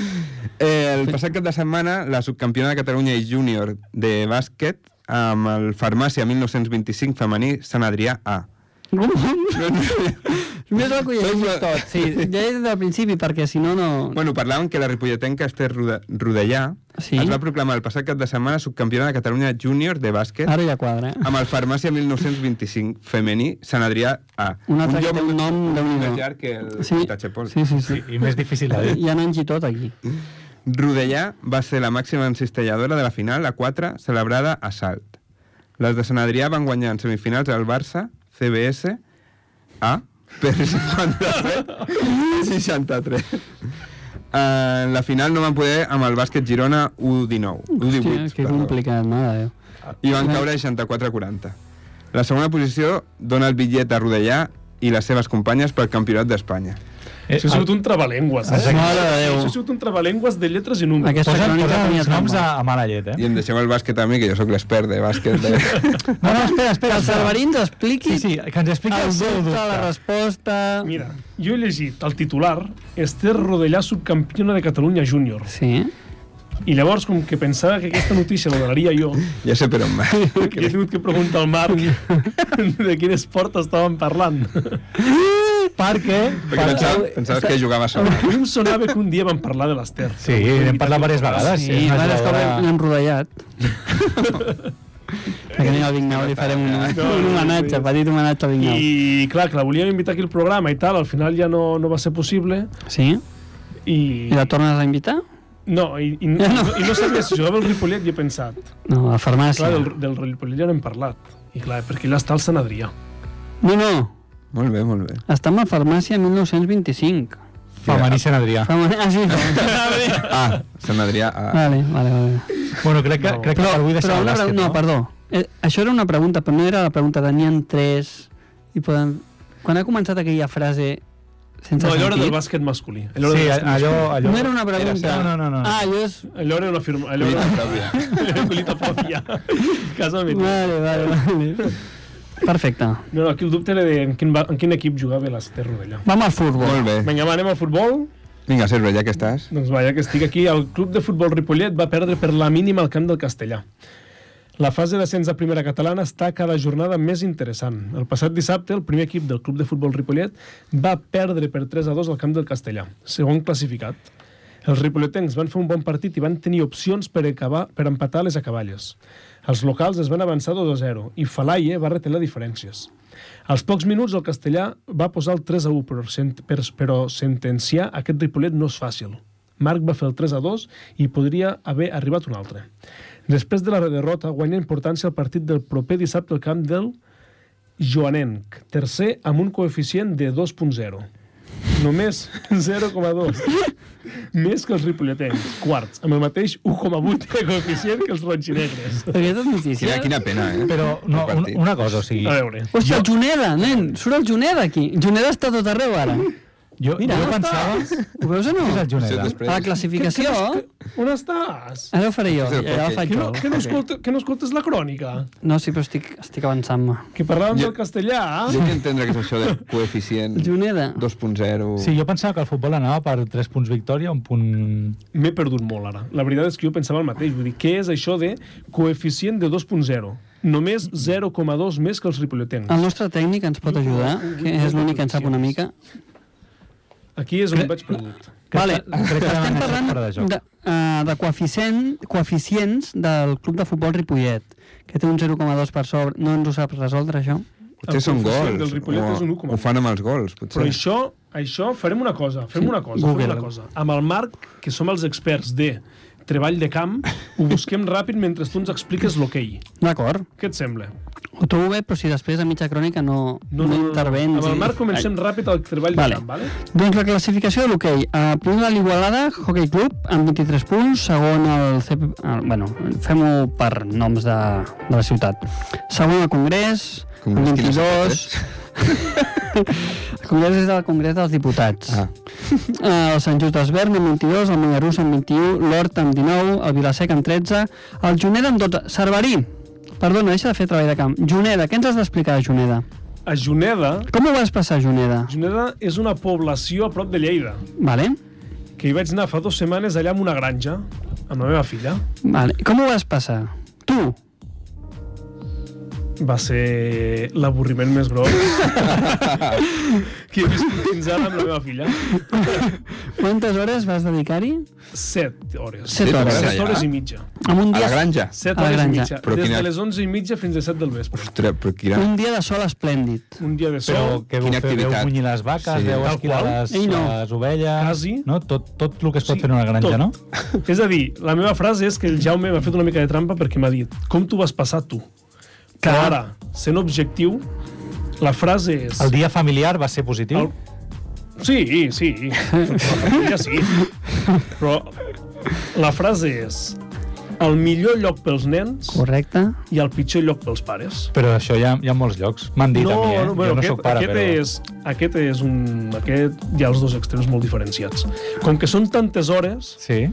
[SPEAKER 4] Eh, el passat cap de setmana, la subcampiona de Catalunya i júnior de bàsquet amb el Farmàcia 1925 femení Sant Adrià
[SPEAKER 3] (laughs)
[SPEAKER 4] A.
[SPEAKER 3] Més val que ho llegeixis
[SPEAKER 4] Tot, però-
[SPEAKER 3] tot, sí. Llegeix des del principi, perquè si no, no...
[SPEAKER 4] Bueno, parlàvem que la ripolletenca Esther Rode- Rodellà
[SPEAKER 3] Sí.
[SPEAKER 4] es va proclamar el passat cap de setmana subcampiona de Catalunya júnior de bàsquet
[SPEAKER 3] Ara ja quadra. eh?
[SPEAKER 4] amb el Farmàcia 1925 femení Sant Adrià A.
[SPEAKER 3] Un altre que té un nom de
[SPEAKER 4] més
[SPEAKER 3] nhi
[SPEAKER 4] llarg que el
[SPEAKER 3] Sí,
[SPEAKER 4] Tachepol.
[SPEAKER 3] sí, sí. sí.
[SPEAKER 2] Sí, I més difícil de dir.
[SPEAKER 3] Hi ha nens i tot, aquí.
[SPEAKER 4] Rodellà va ser la màxima encistelladora de la final a 4, celebrada a Salt. Les de Sant Adrià van guanyar en semifinals al Barça, CBS, A, (laughs) per 57-63. En la final no van poder amb el bàsquet Girona U19. U18,
[SPEAKER 3] que
[SPEAKER 4] perdó.
[SPEAKER 3] complicat, mare de Déu.
[SPEAKER 4] I van caure 64-40. La segona posició dona el bitllet a Rodellà i les seves companyes pel Campionat d'Espanya.
[SPEAKER 2] Eh,
[SPEAKER 1] Això ha sigut un trabalengües, eh?
[SPEAKER 3] Mare de Déu.
[SPEAKER 1] Això ha sigut un trabalengües de lletres i números.
[SPEAKER 3] Aquesta
[SPEAKER 2] Posa,
[SPEAKER 3] crònica
[SPEAKER 2] posa
[SPEAKER 3] tenia
[SPEAKER 2] els noms a,
[SPEAKER 3] trampa.
[SPEAKER 2] a mala llet,
[SPEAKER 4] I
[SPEAKER 2] eh?
[SPEAKER 4] em deixem el bàsquet a mi, que jo sóc l'expert de bàsquet. De... (laughs)
[SPEAKER 2] No, no, espera,
[SPEAKER 3] Que
[SPEAKER 2] espera.
[SPEAKER 3] els alberins expliqui
[SPEAKER 2] Sí, sí, que ens expliqui
[SPEAKER 3] el
[SPEAKER 2] el seu
[SPEAKER 3] dubte, la
[SPEAKER 2] dubte.
[SPEAKER 3] resposta...
[SPEAKER 1] Mira, jo he llegit el titular Esther Rodellà, subcampiona de Catalunya Júnior.
[SPEAKER 3] Sí.
[SPEAKER 1] I llavors, com que pensava que aquesta notícia la donaria
[SPEAKER 2] (laughs)
[SPEAKER 1] jo,
[SPEAKER 4] ja sé per on va.
[SPEAKER 1] he tingut que preguntar al Marc (laughs) de quin esport estàvem
[SPEAKER 2] (laughs)
[SPEAKER 1] parlant.
[SPEAKER 2] Perquè...
[SPEAKER 4] Perquè pensava,
[SPEAKER 2] eh,
[SPEAKER 4] pensaves que jugava sol.
[SPEAKER 1] (laughs) A mi em sonava que un dia vam parlar de l'Ester.
[SPEAKER 2] Sí, n'hem parlat diverses vegades.
[SPEAKER 3] Sí,
[SPEAKER 2] és una
[SPEAKER 3] nosaltres que
[SPEAKER 2] jugadora-
[SPEAKER 3] l'hem rodellat. Perquè anem al Vignau i farem un, un homenatge, petit homenatge al Vignau.
[SPEAKER 1] I clar, que la volíem invitar aquí al programa i tal, al final ja no, no va ser possible
[SPEAKER 3] Sí?
[SPEAKER 1] i...
[SPEAKER 3] I la tornes a invitar?
[SPEAKER 1] No, i, i, no,
[SPEAKER 3] Ja no.
[SPEAKER 1] i no sabia si jugava el Ripollet i he pensat.
[SPEAKER 3] No, a la farmàcia.
[SPEAKER 1] Clar, del, del Ripollet ja n'hem parlat. I clar, perquè allà està el Sant Adrià.
[SPEAKER 3] No, no,
[SPEAKER 4] Molt bé, molt bé.
[SPEAKER 3] està en la farmàcia 1925.
[SPEAKER 2] Femení Sant Adrià.
[SPEAKER 3] Farmà- Ah, sí,
[SPEAKER 1] (laughs)
[SPEAKER 3] farmàcia.
[SPEAKER 4] Ah, Sant Adrià. Ah.
[SPEAKER 3] Vale, vale, vale.
[SPEAKER 2] Bueno, crec que, crec que per avui
[SPEAKER 3] Però
[SPEAKER 2] deixem el
[SPEAKER 3] una
[SPEAKER 2] bàsquet,
[SPEAKER 3] pregunta, no, perdó. Eh, això era una pregunta, però no era la pregunta. Tenien tres i poden... Quan ha començat aquella frase sense
[SPEAKER 1] No, allò era
[SPEAKER 3] sentit...
[SPEAKER 1] del bàsquet masculí. Allò
[SPEAKER 2] Sí,
[SPEAKER 1] era, del bàsquet
[SPEAKER 2] allò... allò...
[SPEAKER 3] No era una pregunta.
[SPEAKER 2] No, no, no. no.
[SPEAKER 3] Ah, allò és...
[SPEAKER 1] masculí. allò era una firma... eh, Allò era
[SPEAKER 4] Collita pròpia.
[SPEAKER 1] (laughs) collita pròpia. Casa meva.
[SPEAKER 3] Vale, vale, vale. Perfecte.
[SPEAKER 1] No, no, aquí el dubte era de en quin, va- en quin equip jugava l'Ester Rodellà.
[SPEAKER 3] Vam al futbol.
[SPEAKER 4] Molt bé.
[SPEAKER 1] Vinga, va, anem al futbol.
[SPEAKER 4] Vinga, Sergio, ja que estàs.
[SPEAKER 1] Doncs va, ja que estic aquí, el club de futbol Ripollet va perdre per la mínima al camp del Castellà. La fase d'ascens a primera catalana està cada jornada més interessant. El passat dissabte, el primer equip del club de futbol Ripollet va perdre per 3 a 2 al camp del Castellà, segon classificat. Els ripolletens van fer un bon partit i van tenir opcions per, acabar, per empatar les acaballes. Els locals es van avançar 2 a 0 i Falaie va retelar diferències. Als pocs minuts, el castellà va posar el 3 a 1, però, sent- per- però sentenciar aquest Ripollet no és fàcil. Marc va fer el 3 a 2 i podria haver arribat un altre. Després de la derrota, guanya importància el partit del proper dissabte al camp del Joanenc, tercer amb un coeficient de 2.0. Només (laughs) 0,2. Més que els ripolletens, quarts, amb el mateix 1,8 de coeficient que els roginegres.
[SPEAKER 3] Aquestes
[SPEAKER 4] Quina,
[SPEAKER 3] notícies...
[SPEAKER 4] quina pena, eh?
[SPEAKER 2] Però, no,
[SPEAKER 4] El
[SPEAKER 2] una,
[SPEAKER 4] partit.
[SPEAKER 2] una cosa, o sigui...
[SPEAKER 1] A veure.
[SPEAKER 3] Hòstia, el Juneda, nen, surt el Juneda aquí. Juneda està a tot arreu ara.
[SPEAKER 2] Jo,
[SPEAKER 3] Mira,
[SPEAKER 2] jo
[SPEAKER 3] on
[SPEAKER 2] pensava...
[SPEAKER 3] està? Ho veus o no?
[SPEAKER 2] És el
[SPEAKER 4] Sí,
[SPEAKER 2] Juneda.
[SPEAKER 4] després.
[SPEAKER 3] A la classificació...
[SPEAKER 1] On estàs?
[SPEAKER 3] Ara ho faré jo,
[SPEAKER 4] Sí,
[SPEAKER 3] i ara
[SPEAKER 4] perquè-
[SPEAKER 3] el faig
[SPEAKER 1] Que
[SPEAKER 3] jo.
[SPEAKER 1] no, que no, escolta, que no escoltes la crònica?
[SPEAKER 3] No, sí, però estic, estic avançant-me.
[SPEAKER 1] Que parlàvem
[SPEAKER 4] Jo-
[SPEAKER 1] del castellà.
[SPEAKER 4] Jo vull entendre que és això del coeficient
[SPEAKER 3] Juneda.
[SPEAKER 4] 2.0.
[SPEAKER 2] Sí, jo pensava que el futbol anava per 3 punts victòria, un punt...
[SPEAKER 1] M'he perdut molt ara. La veritat és que jo pensava el mateix. Vull dir, què és això de coeficient de 2.0? Només 0,2 més que els ripolletens.
[SPEAKER 3] El nostre tècnic ens pot ajudar, que és l'únic que en sap una mica.
[SPEAKER 1] Aquí és on vaig perdut.
[SPEAKER 3] Vale,
[SPEAKER 2] Crec que
[SPEAKER 3] estem
[SPEAKER 2] estem
[SPEAKER 3] parlant
[SPEAKER 2] fora de joc.
[SPEAKER 3] de, uh, de coeficient, coeficients del club de futbol Ripollet, que té un 0,2 per sobre. No ens ho saps resoldre, això?
[SPEAKER 4] Potser són
[SPEAKER 1] El coeficient
[SPEAKER 4] gols.
[SPEAKER 1] del Ripollet és un u coma
[SPEAKER 4] ho
[SPEAKER 1] u.
[SPEAKER 4] fan amb els gols,
[SPEAKER 1] Però
[SPEAKER 4] potser.
[SPEAKER 1] això, això farem una cosa, fem
[SPEAKER 3] Sí,
[SPEAKER 1] una cosa,
[SPEAKER 3] Google.
[SPEAKER 1] fem una cosa. Amb el Marc, que som els experts de treball de camp, ho busquem ràpid mentre tu ens expliques l'hoquei.
[SPEAKER 3] D'acord.
[SPEAKER 1] Què et sembla?
[SPEAKER 3] Ho trobo bé, però si després a mitja crònica no, no, no, intervens...
[SPEAKER 1] Amb el
[SPEAKER 3] i-
[SPEAKER 1] Marc comencem ràpid el treball
[SPEAKER 3] Vale.
[SPEAKER 1] de camp, vale?
[SPEAKER 3] Doncs la classificació de l'hoquei. A primer de l'Igualada, Hockey Club, amb 23 punts. Segon, el CP... El, bueno, fem-ho per noms de, de la ciutat. Segon, el Congrés,
[SPEAKER 4] Congrés,
[SPEAKER 3] amb
[SPEAKER 4] quina
[SPEAKER 3] 22... (laughs) el Congrés és del Congrés dels Diputats.
[SPEAKER 4] Ah.
[SPEAKER 3] (laughs) Eh, el Sant Just d'Esvern amb 22, el Mollarús amb 21, l'Hort amb 19, el Vilasec amb 13, el Juneda amb 12. Cerverí, perdona, deixa de fer treball de camp. Juneda, què ens has d'explicar de Juneda?
[SPEAKER 1] A Juneda,
[SPEAKER 3] Com ho vas passar, Juneda?
[SPEAKER 1] Juneda és una població a prop de Lleida,
[SPEAKER 3] Vale.
[SPEAKER 1] que hi vaig anar fa dues setmanes allà amb una granja, amb la meva filla.
[SPEAKER 3] Vale. Com ho vas passar? Tu?
[SPEAKER 1] va ser l'avorriment més gros que he viscut fins ara amb la meva filla.
[SPEAKER 3] Quantes hores vas dedicar-hi?
[SPEAKER 1] Set hores.
[SPEAKER 3] Set hores.
[SPEAKER 1] Set
[SPEAKER 4] Allà.
[SPEAKER 1] hores i mitja.
[SPEAKER 3] Amb un
[SPEAKER 4] A
[SPEAKER 3] dia,
[SPEAKER 4] la granja?
[SPEAKER 1] Set
[SPEAKER 3] A la
[SPEAKER 1] hores i
[SPEAKER 3] granja.
[SPEAKER 1] mitja.
[SPEAKER 4] Però
[SPEAKER 1] Des
[SPEAKER 4] quina-
[SPEAKER 1] de les 11 i mitja fins a 7 del vespre.
[SPEAKER 4] Ostres, però quina...
[SPEAKER 3] un dia de sol esplèndid.
[SPEAKER 1] Un dia de
[SPEAKER 2] Però
[SPEAKER 1] sol.
[SPEAKER 2] què vau
[SPEAKER 4] Quina
[SPEAKER 2] fer? Veu
[SPEAKER 4] activitat.
[SPEAKER 2] munyir les vaques,
[SPEAKER 4] Sí.
[SPEAKER 2] sí. veu
[SPEAKER 1] Tal
[SPEAKER 2] esquilar
[SPEAKER 1] qual.
[SPEAKER 2] les,
[SPEAKER 3] Ell no.
[SPEAKER 2] les ovelles...
[SPEAKER 1] Quasi.
[SPEAKER 2] No? Tot, tot el que es pot fer en una granja,
[SPEAKER 1] tot.
[SPEAKER 2] no?
[SPEAKER 1] És a dir, la meva frase és que el Jaume m'ha fet una mica de trampa perquè m'ha dit com t'ho vas passar tu? Però
[SPEAKER 3] Clar.
[SPEAKER 1] ara, sent objectiu, la frase és...
[SPEAKER 2] El dia familiar va ser positiu?
[SPEAKER 1] El- Sí, sí. La família sí. Però la frase és... el millor lloc pels nens
[SPEAKER 3] Correcte.
[SPEAKER 1] i el pitjor lloc pels pares.
[SPEAKER 2] Però això hi ha, hi ha molts llocs. M'han dit a mi, eh? jo no
[SPEAKER 1] aquest,
[SPEAKER 2] sóc pare,
[SPEAKER 1] aquest
[SPEAKER 2] però...
[SPEAKER 1] És, aquest és un... Aquest hi ha els dos extrems molt diferenciats. Com que són tantes hores,
[SPEAKER 2] Sí.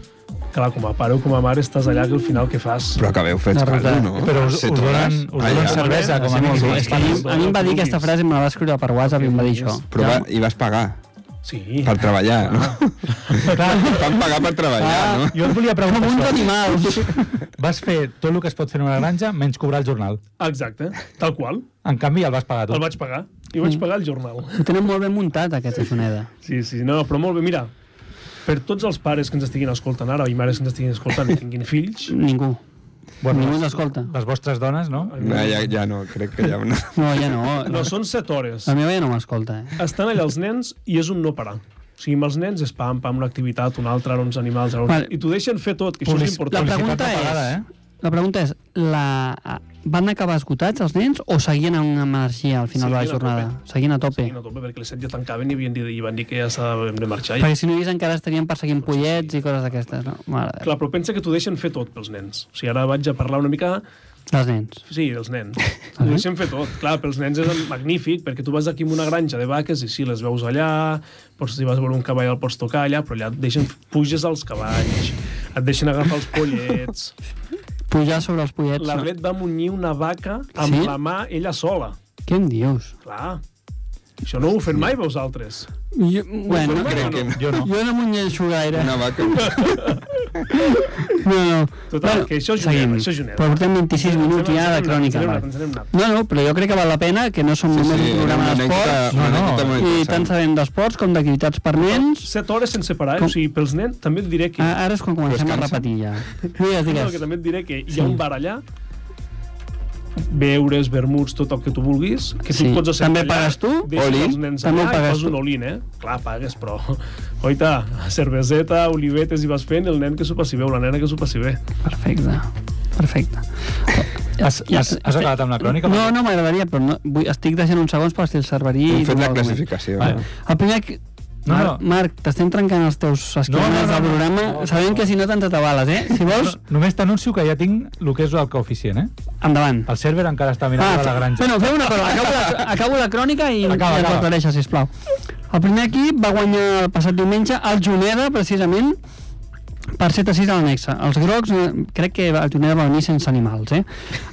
[SPEAKER 1] clar, com a pare o com a mare estàs allà que al final què fas?
[SPEAKER 4] Però que veu fets
[SPEAKER 3] La
[SPEAKER 4] caldo,
[SPEAKER 3] veritat.
[SPEAKER 4] no?
[SPEAKER 2] Però us,
[SPEAKER 4] Set
[SPEAKER 2] us
[SPEAKER 4] hores.
[SPEAKER 2] donen, us donen
[SPEAKER 4] Allà.
[SPEAKER 2] cervesa,
[SPEAKER 4] Ah,
[SPEAKER 2] com a
[SPEAKER 1] Sí,
[SPEAKER 2] mínim.
[SPEAKER 1] sí,
[SPEAKER 3] És que a mi, a mi em va dir aquesta frase, me la va escriure per WhatsApp i em va dir això.
[SPEAKER 4] Però va, i vas pagar
[SPEAKER 1] Sí.
[SPEAKER 4] per treballar, no?
[SPEAKER 2] Clar,
[SPEAKER 4] Fan pagar per treballar, no?
[SPEAKER 2] Ah, jo et volia
[SPEAKER 3] Com
[SPEAKER 2] preguntar
[SPEAKER 3] uns
[SPEAKER 2] això.
[SPEAKER 3] animals.
[SPEAKER 2] Vas fer tot el que es pot fer en una granja, menys cobrar el jornal.
[SPEAKER 1] Exacte, tal qual.
[SPEAKER 2] En canvi, el vas pagar tu.
[SPEAKER 1] El vaig pagar. I
[SPEAKER 2] Mm.
[SPEAKER 1] vaig pagar el jornal.
[SPEAKER 3] Ho tenen molt ben muntat, aquest Xoneda.
[SPEAKER 1] Sí, sí, no, però molt bé, mira, per tots els pares que ens estiguin escoltant ara i mares que ens estiguin escoltant i tinguin fills,
[SPEAKER 3] Ningú.
[SPEAKER 2] Bueno,
[SPEAKER 3] Ningú
[SPEAKER 2] les-
[SPEAKER 3] l'escolta.
[SPEAKER 2] Les vostres dones, no?
[SPEAKER 4] no ja, ja no, crec que ja... No.
[SPEAKER 3] No, ja no.
[SPEAKER 1] no, són set hores.
[SPEAKER 3] La meva ja no m'escolta, eh?
[SPEAKER 1] Estan allà els nens i és un no parar. O sigui, amb els nens és pam, pam, una activitat, una altra, ara uns animals... Ara...
[SPEAKER 3] Vale.
[SPEAKER 1] Vale. I t'ho deixen fer tot, que això
[SPEAKER 2] Public-
[SPEAKER 1] és
[SPEAKER 3] La
[SPEAKER 1] important.
[SPEAKER 2] Publicitat
[SPEAKER 3] pregunta
[SPEAKER 2] no pagada,
[SPEAKER 3] és...
[SPEAKER 2] eh?
[SPEAKER 3] La pregunta és, la... van acabar esgotats els nens o seguien amb energia al final de la
[SPEAKER 1] Seguien a
[SPEAKER 3] jornada?
[SPEAKER 1] tope.
[SPEAKER 3] Seguien a tope.
[SPEAKER 1] Sí, no, tope, perquè les set ja tancaven i, havien dit, i van dir que ja s'havien de marxar. Ja.
[SPEAKER 3] Perquè si no hi hagués encara estarien perseguint pollets i coses d'aquestes, no? Mare de Déu.
[SPEAKER 1] Clar, però pensa que t'ho deixen fer tot pels nens. O sigui, ara vaig a parlar una mica...
[SPEAKER 3] Els nens.
[SPEAKER 1] Sí, dels nens.
[SPEAKER 3] (laughs)
[SPEAKER 1] Ho deixen fer tot. Clar, pels nens és magnífic, perquè tu vas aquí amb una granja de vaques i sí, les veus allà, pots, si vas a veure un cavall el pots tocar allà, però allà et deixen, puges als cavalls, et deixen agafar els pollets.
[SPEAKER 3] (laughs) Pujar sobre els pollets.
[SPEAKER 1] La
[SPEAKER 3] no?
[SPEAKER 1] Blet va munyir una vaca amb
[SPEAKER 3] Sí?
[SPEAKER 1] sí? la mà ella sola.
[SPEAKER 3] Què em dius?
[SPEAKER 1] Clar. Això no ho heu fet mai, vosaltres.
[SPEAKER 3] Jo, bueno,
[SPEAKER 4] Crec que no.
[SPEAKER 2] Jo no.
[SPEAKER 3] jo no m'ho llenço gaire.
[SPEAKER 4] Una vaca...
[SPEAKER 3] No, no.
[SPEAKER 1] Total, que això és
[SPEAKER 3] seguim.
[SPEAKER 1] Juneda, això és Juneda.
[SPEAKER 3] Però portem 26 minuts ja de crònica. va. No, no, però jo crec que val la pena, que no som
[SPEAKER 4] Sí,
[SPEAKER 3] només
[SPEAKER 4] sí,
[SPEAKER 3] un programa
[SPEAKER 4] una anècdota,
[SPEAKER 3] d'esports,
[SPEAKER 2] No,
[SPEAKER 4] una
[SPEAKER 2] no.
[SPEAKER 4] anècdota molt
[SPEAKER 3] i tant
[SPEAKER 4] interessant.
[SPEAKER 3] sabem d'esports com d'activitats per nens.
[SPEAKER 1] Set hores sense parar, eh?
[SPEAKER 3] Com-
[SPEAKER 1] o sigui, pels nens també et diré que...
[SPEAKER 3] Ah, Ara és quan comencem a
[SPEAKER 4] Descansa.
[SPEAKER 3] repetir ja. Digues,
[SPEAKER 1] No, que
[SPEAKER 3] digues.
[SPEAKER 1] també et diré que hi ha un bar allà, beures, vermuts, tot el que tu vulguis, que tu
[SPEAKER 3] Sí.
[SPEAKER 1] et pots asseure
[SPEAKER 3] També
[SPEAKER 1] allà,
[SPEAKER 3] pagues tu?
[SPEAKER 1] deixes
[SPEAKER 4] Oli?
[SPEAKER 1] els nens
[SPEAKER 3] També ho
[SPEAKER 1] allà i
[SPEAKER 3] pagues
[SPEAKER 1] fas
[SPEAKER 3] tu?
[SPEAKER 1] un olín, eh? Clar, pagues, però... (laughs) Oita, cerveseta, olivetes i vas fent, el nen que s'ho passi bé, o la nena que s'ho passi bé.
[SPEAKER 3] Perfecte, perfecte.
[SPEAKER 2] (laughs) Has, has, has acabat amb la crònica?
[SPEAKER 3] No, no m'agradaria, però no, vull, estic deixant uns segons per estil cerverí.
[SPEAKER 4] Hem fet la
[SPEAKER 3] igualment.
[SPEAKER 4] classificació.
[SPEAKER 2] Vale.
[SPEAKER 4] no?
[SPEAKER 3] El primer... que-
[SPEAKER 2] No,
[SPEAKER 3] Marc,
[SPEAKER 2] no.
[SPEAKER 3] Marc t'estem trencant els teus esquemes
[SPEAKER 2] no, no,
[SPEAKER 3] del
[SPEAKER 2] no.
[SPEAKER 3] programa.
[SPEAKER 2] No, no,
[SPEAKER 3] Sabem
[SPEAKER 2] no.
[SPEAKER 3] que si no te'ns atabales, eh? Si
[SPEAKER 2] No,
[SPEAKER 3] vols,
[SPEAKER 2] només t'anuncio que ja tinc el que és el coeficient, eh?
[SPEAKER 3] endavant.
[SPEAKER 2] El server encara està mirant ah, a la
[SPEAKER 3] fe-
[SPEAKER 2] granja.
[SPEAKER 3] Bueno, fem una cosa.
[SPEAKER 2] (laughs)
[SPEAKER 3] Acabo la, acabo la crònica i,
[SPEAKER 2] Acaba,
[SPEAKER 3] i
[SPEAKER 2] acaba.
[SPEAKER 3] la aclareixes, sisplau. El primer equip va guanyar el passat diumenge el Juneda, precisament, per 7 a 6 a l'anexa. Els grocs, eh, crec que el Juneda va venir sense animals, eh?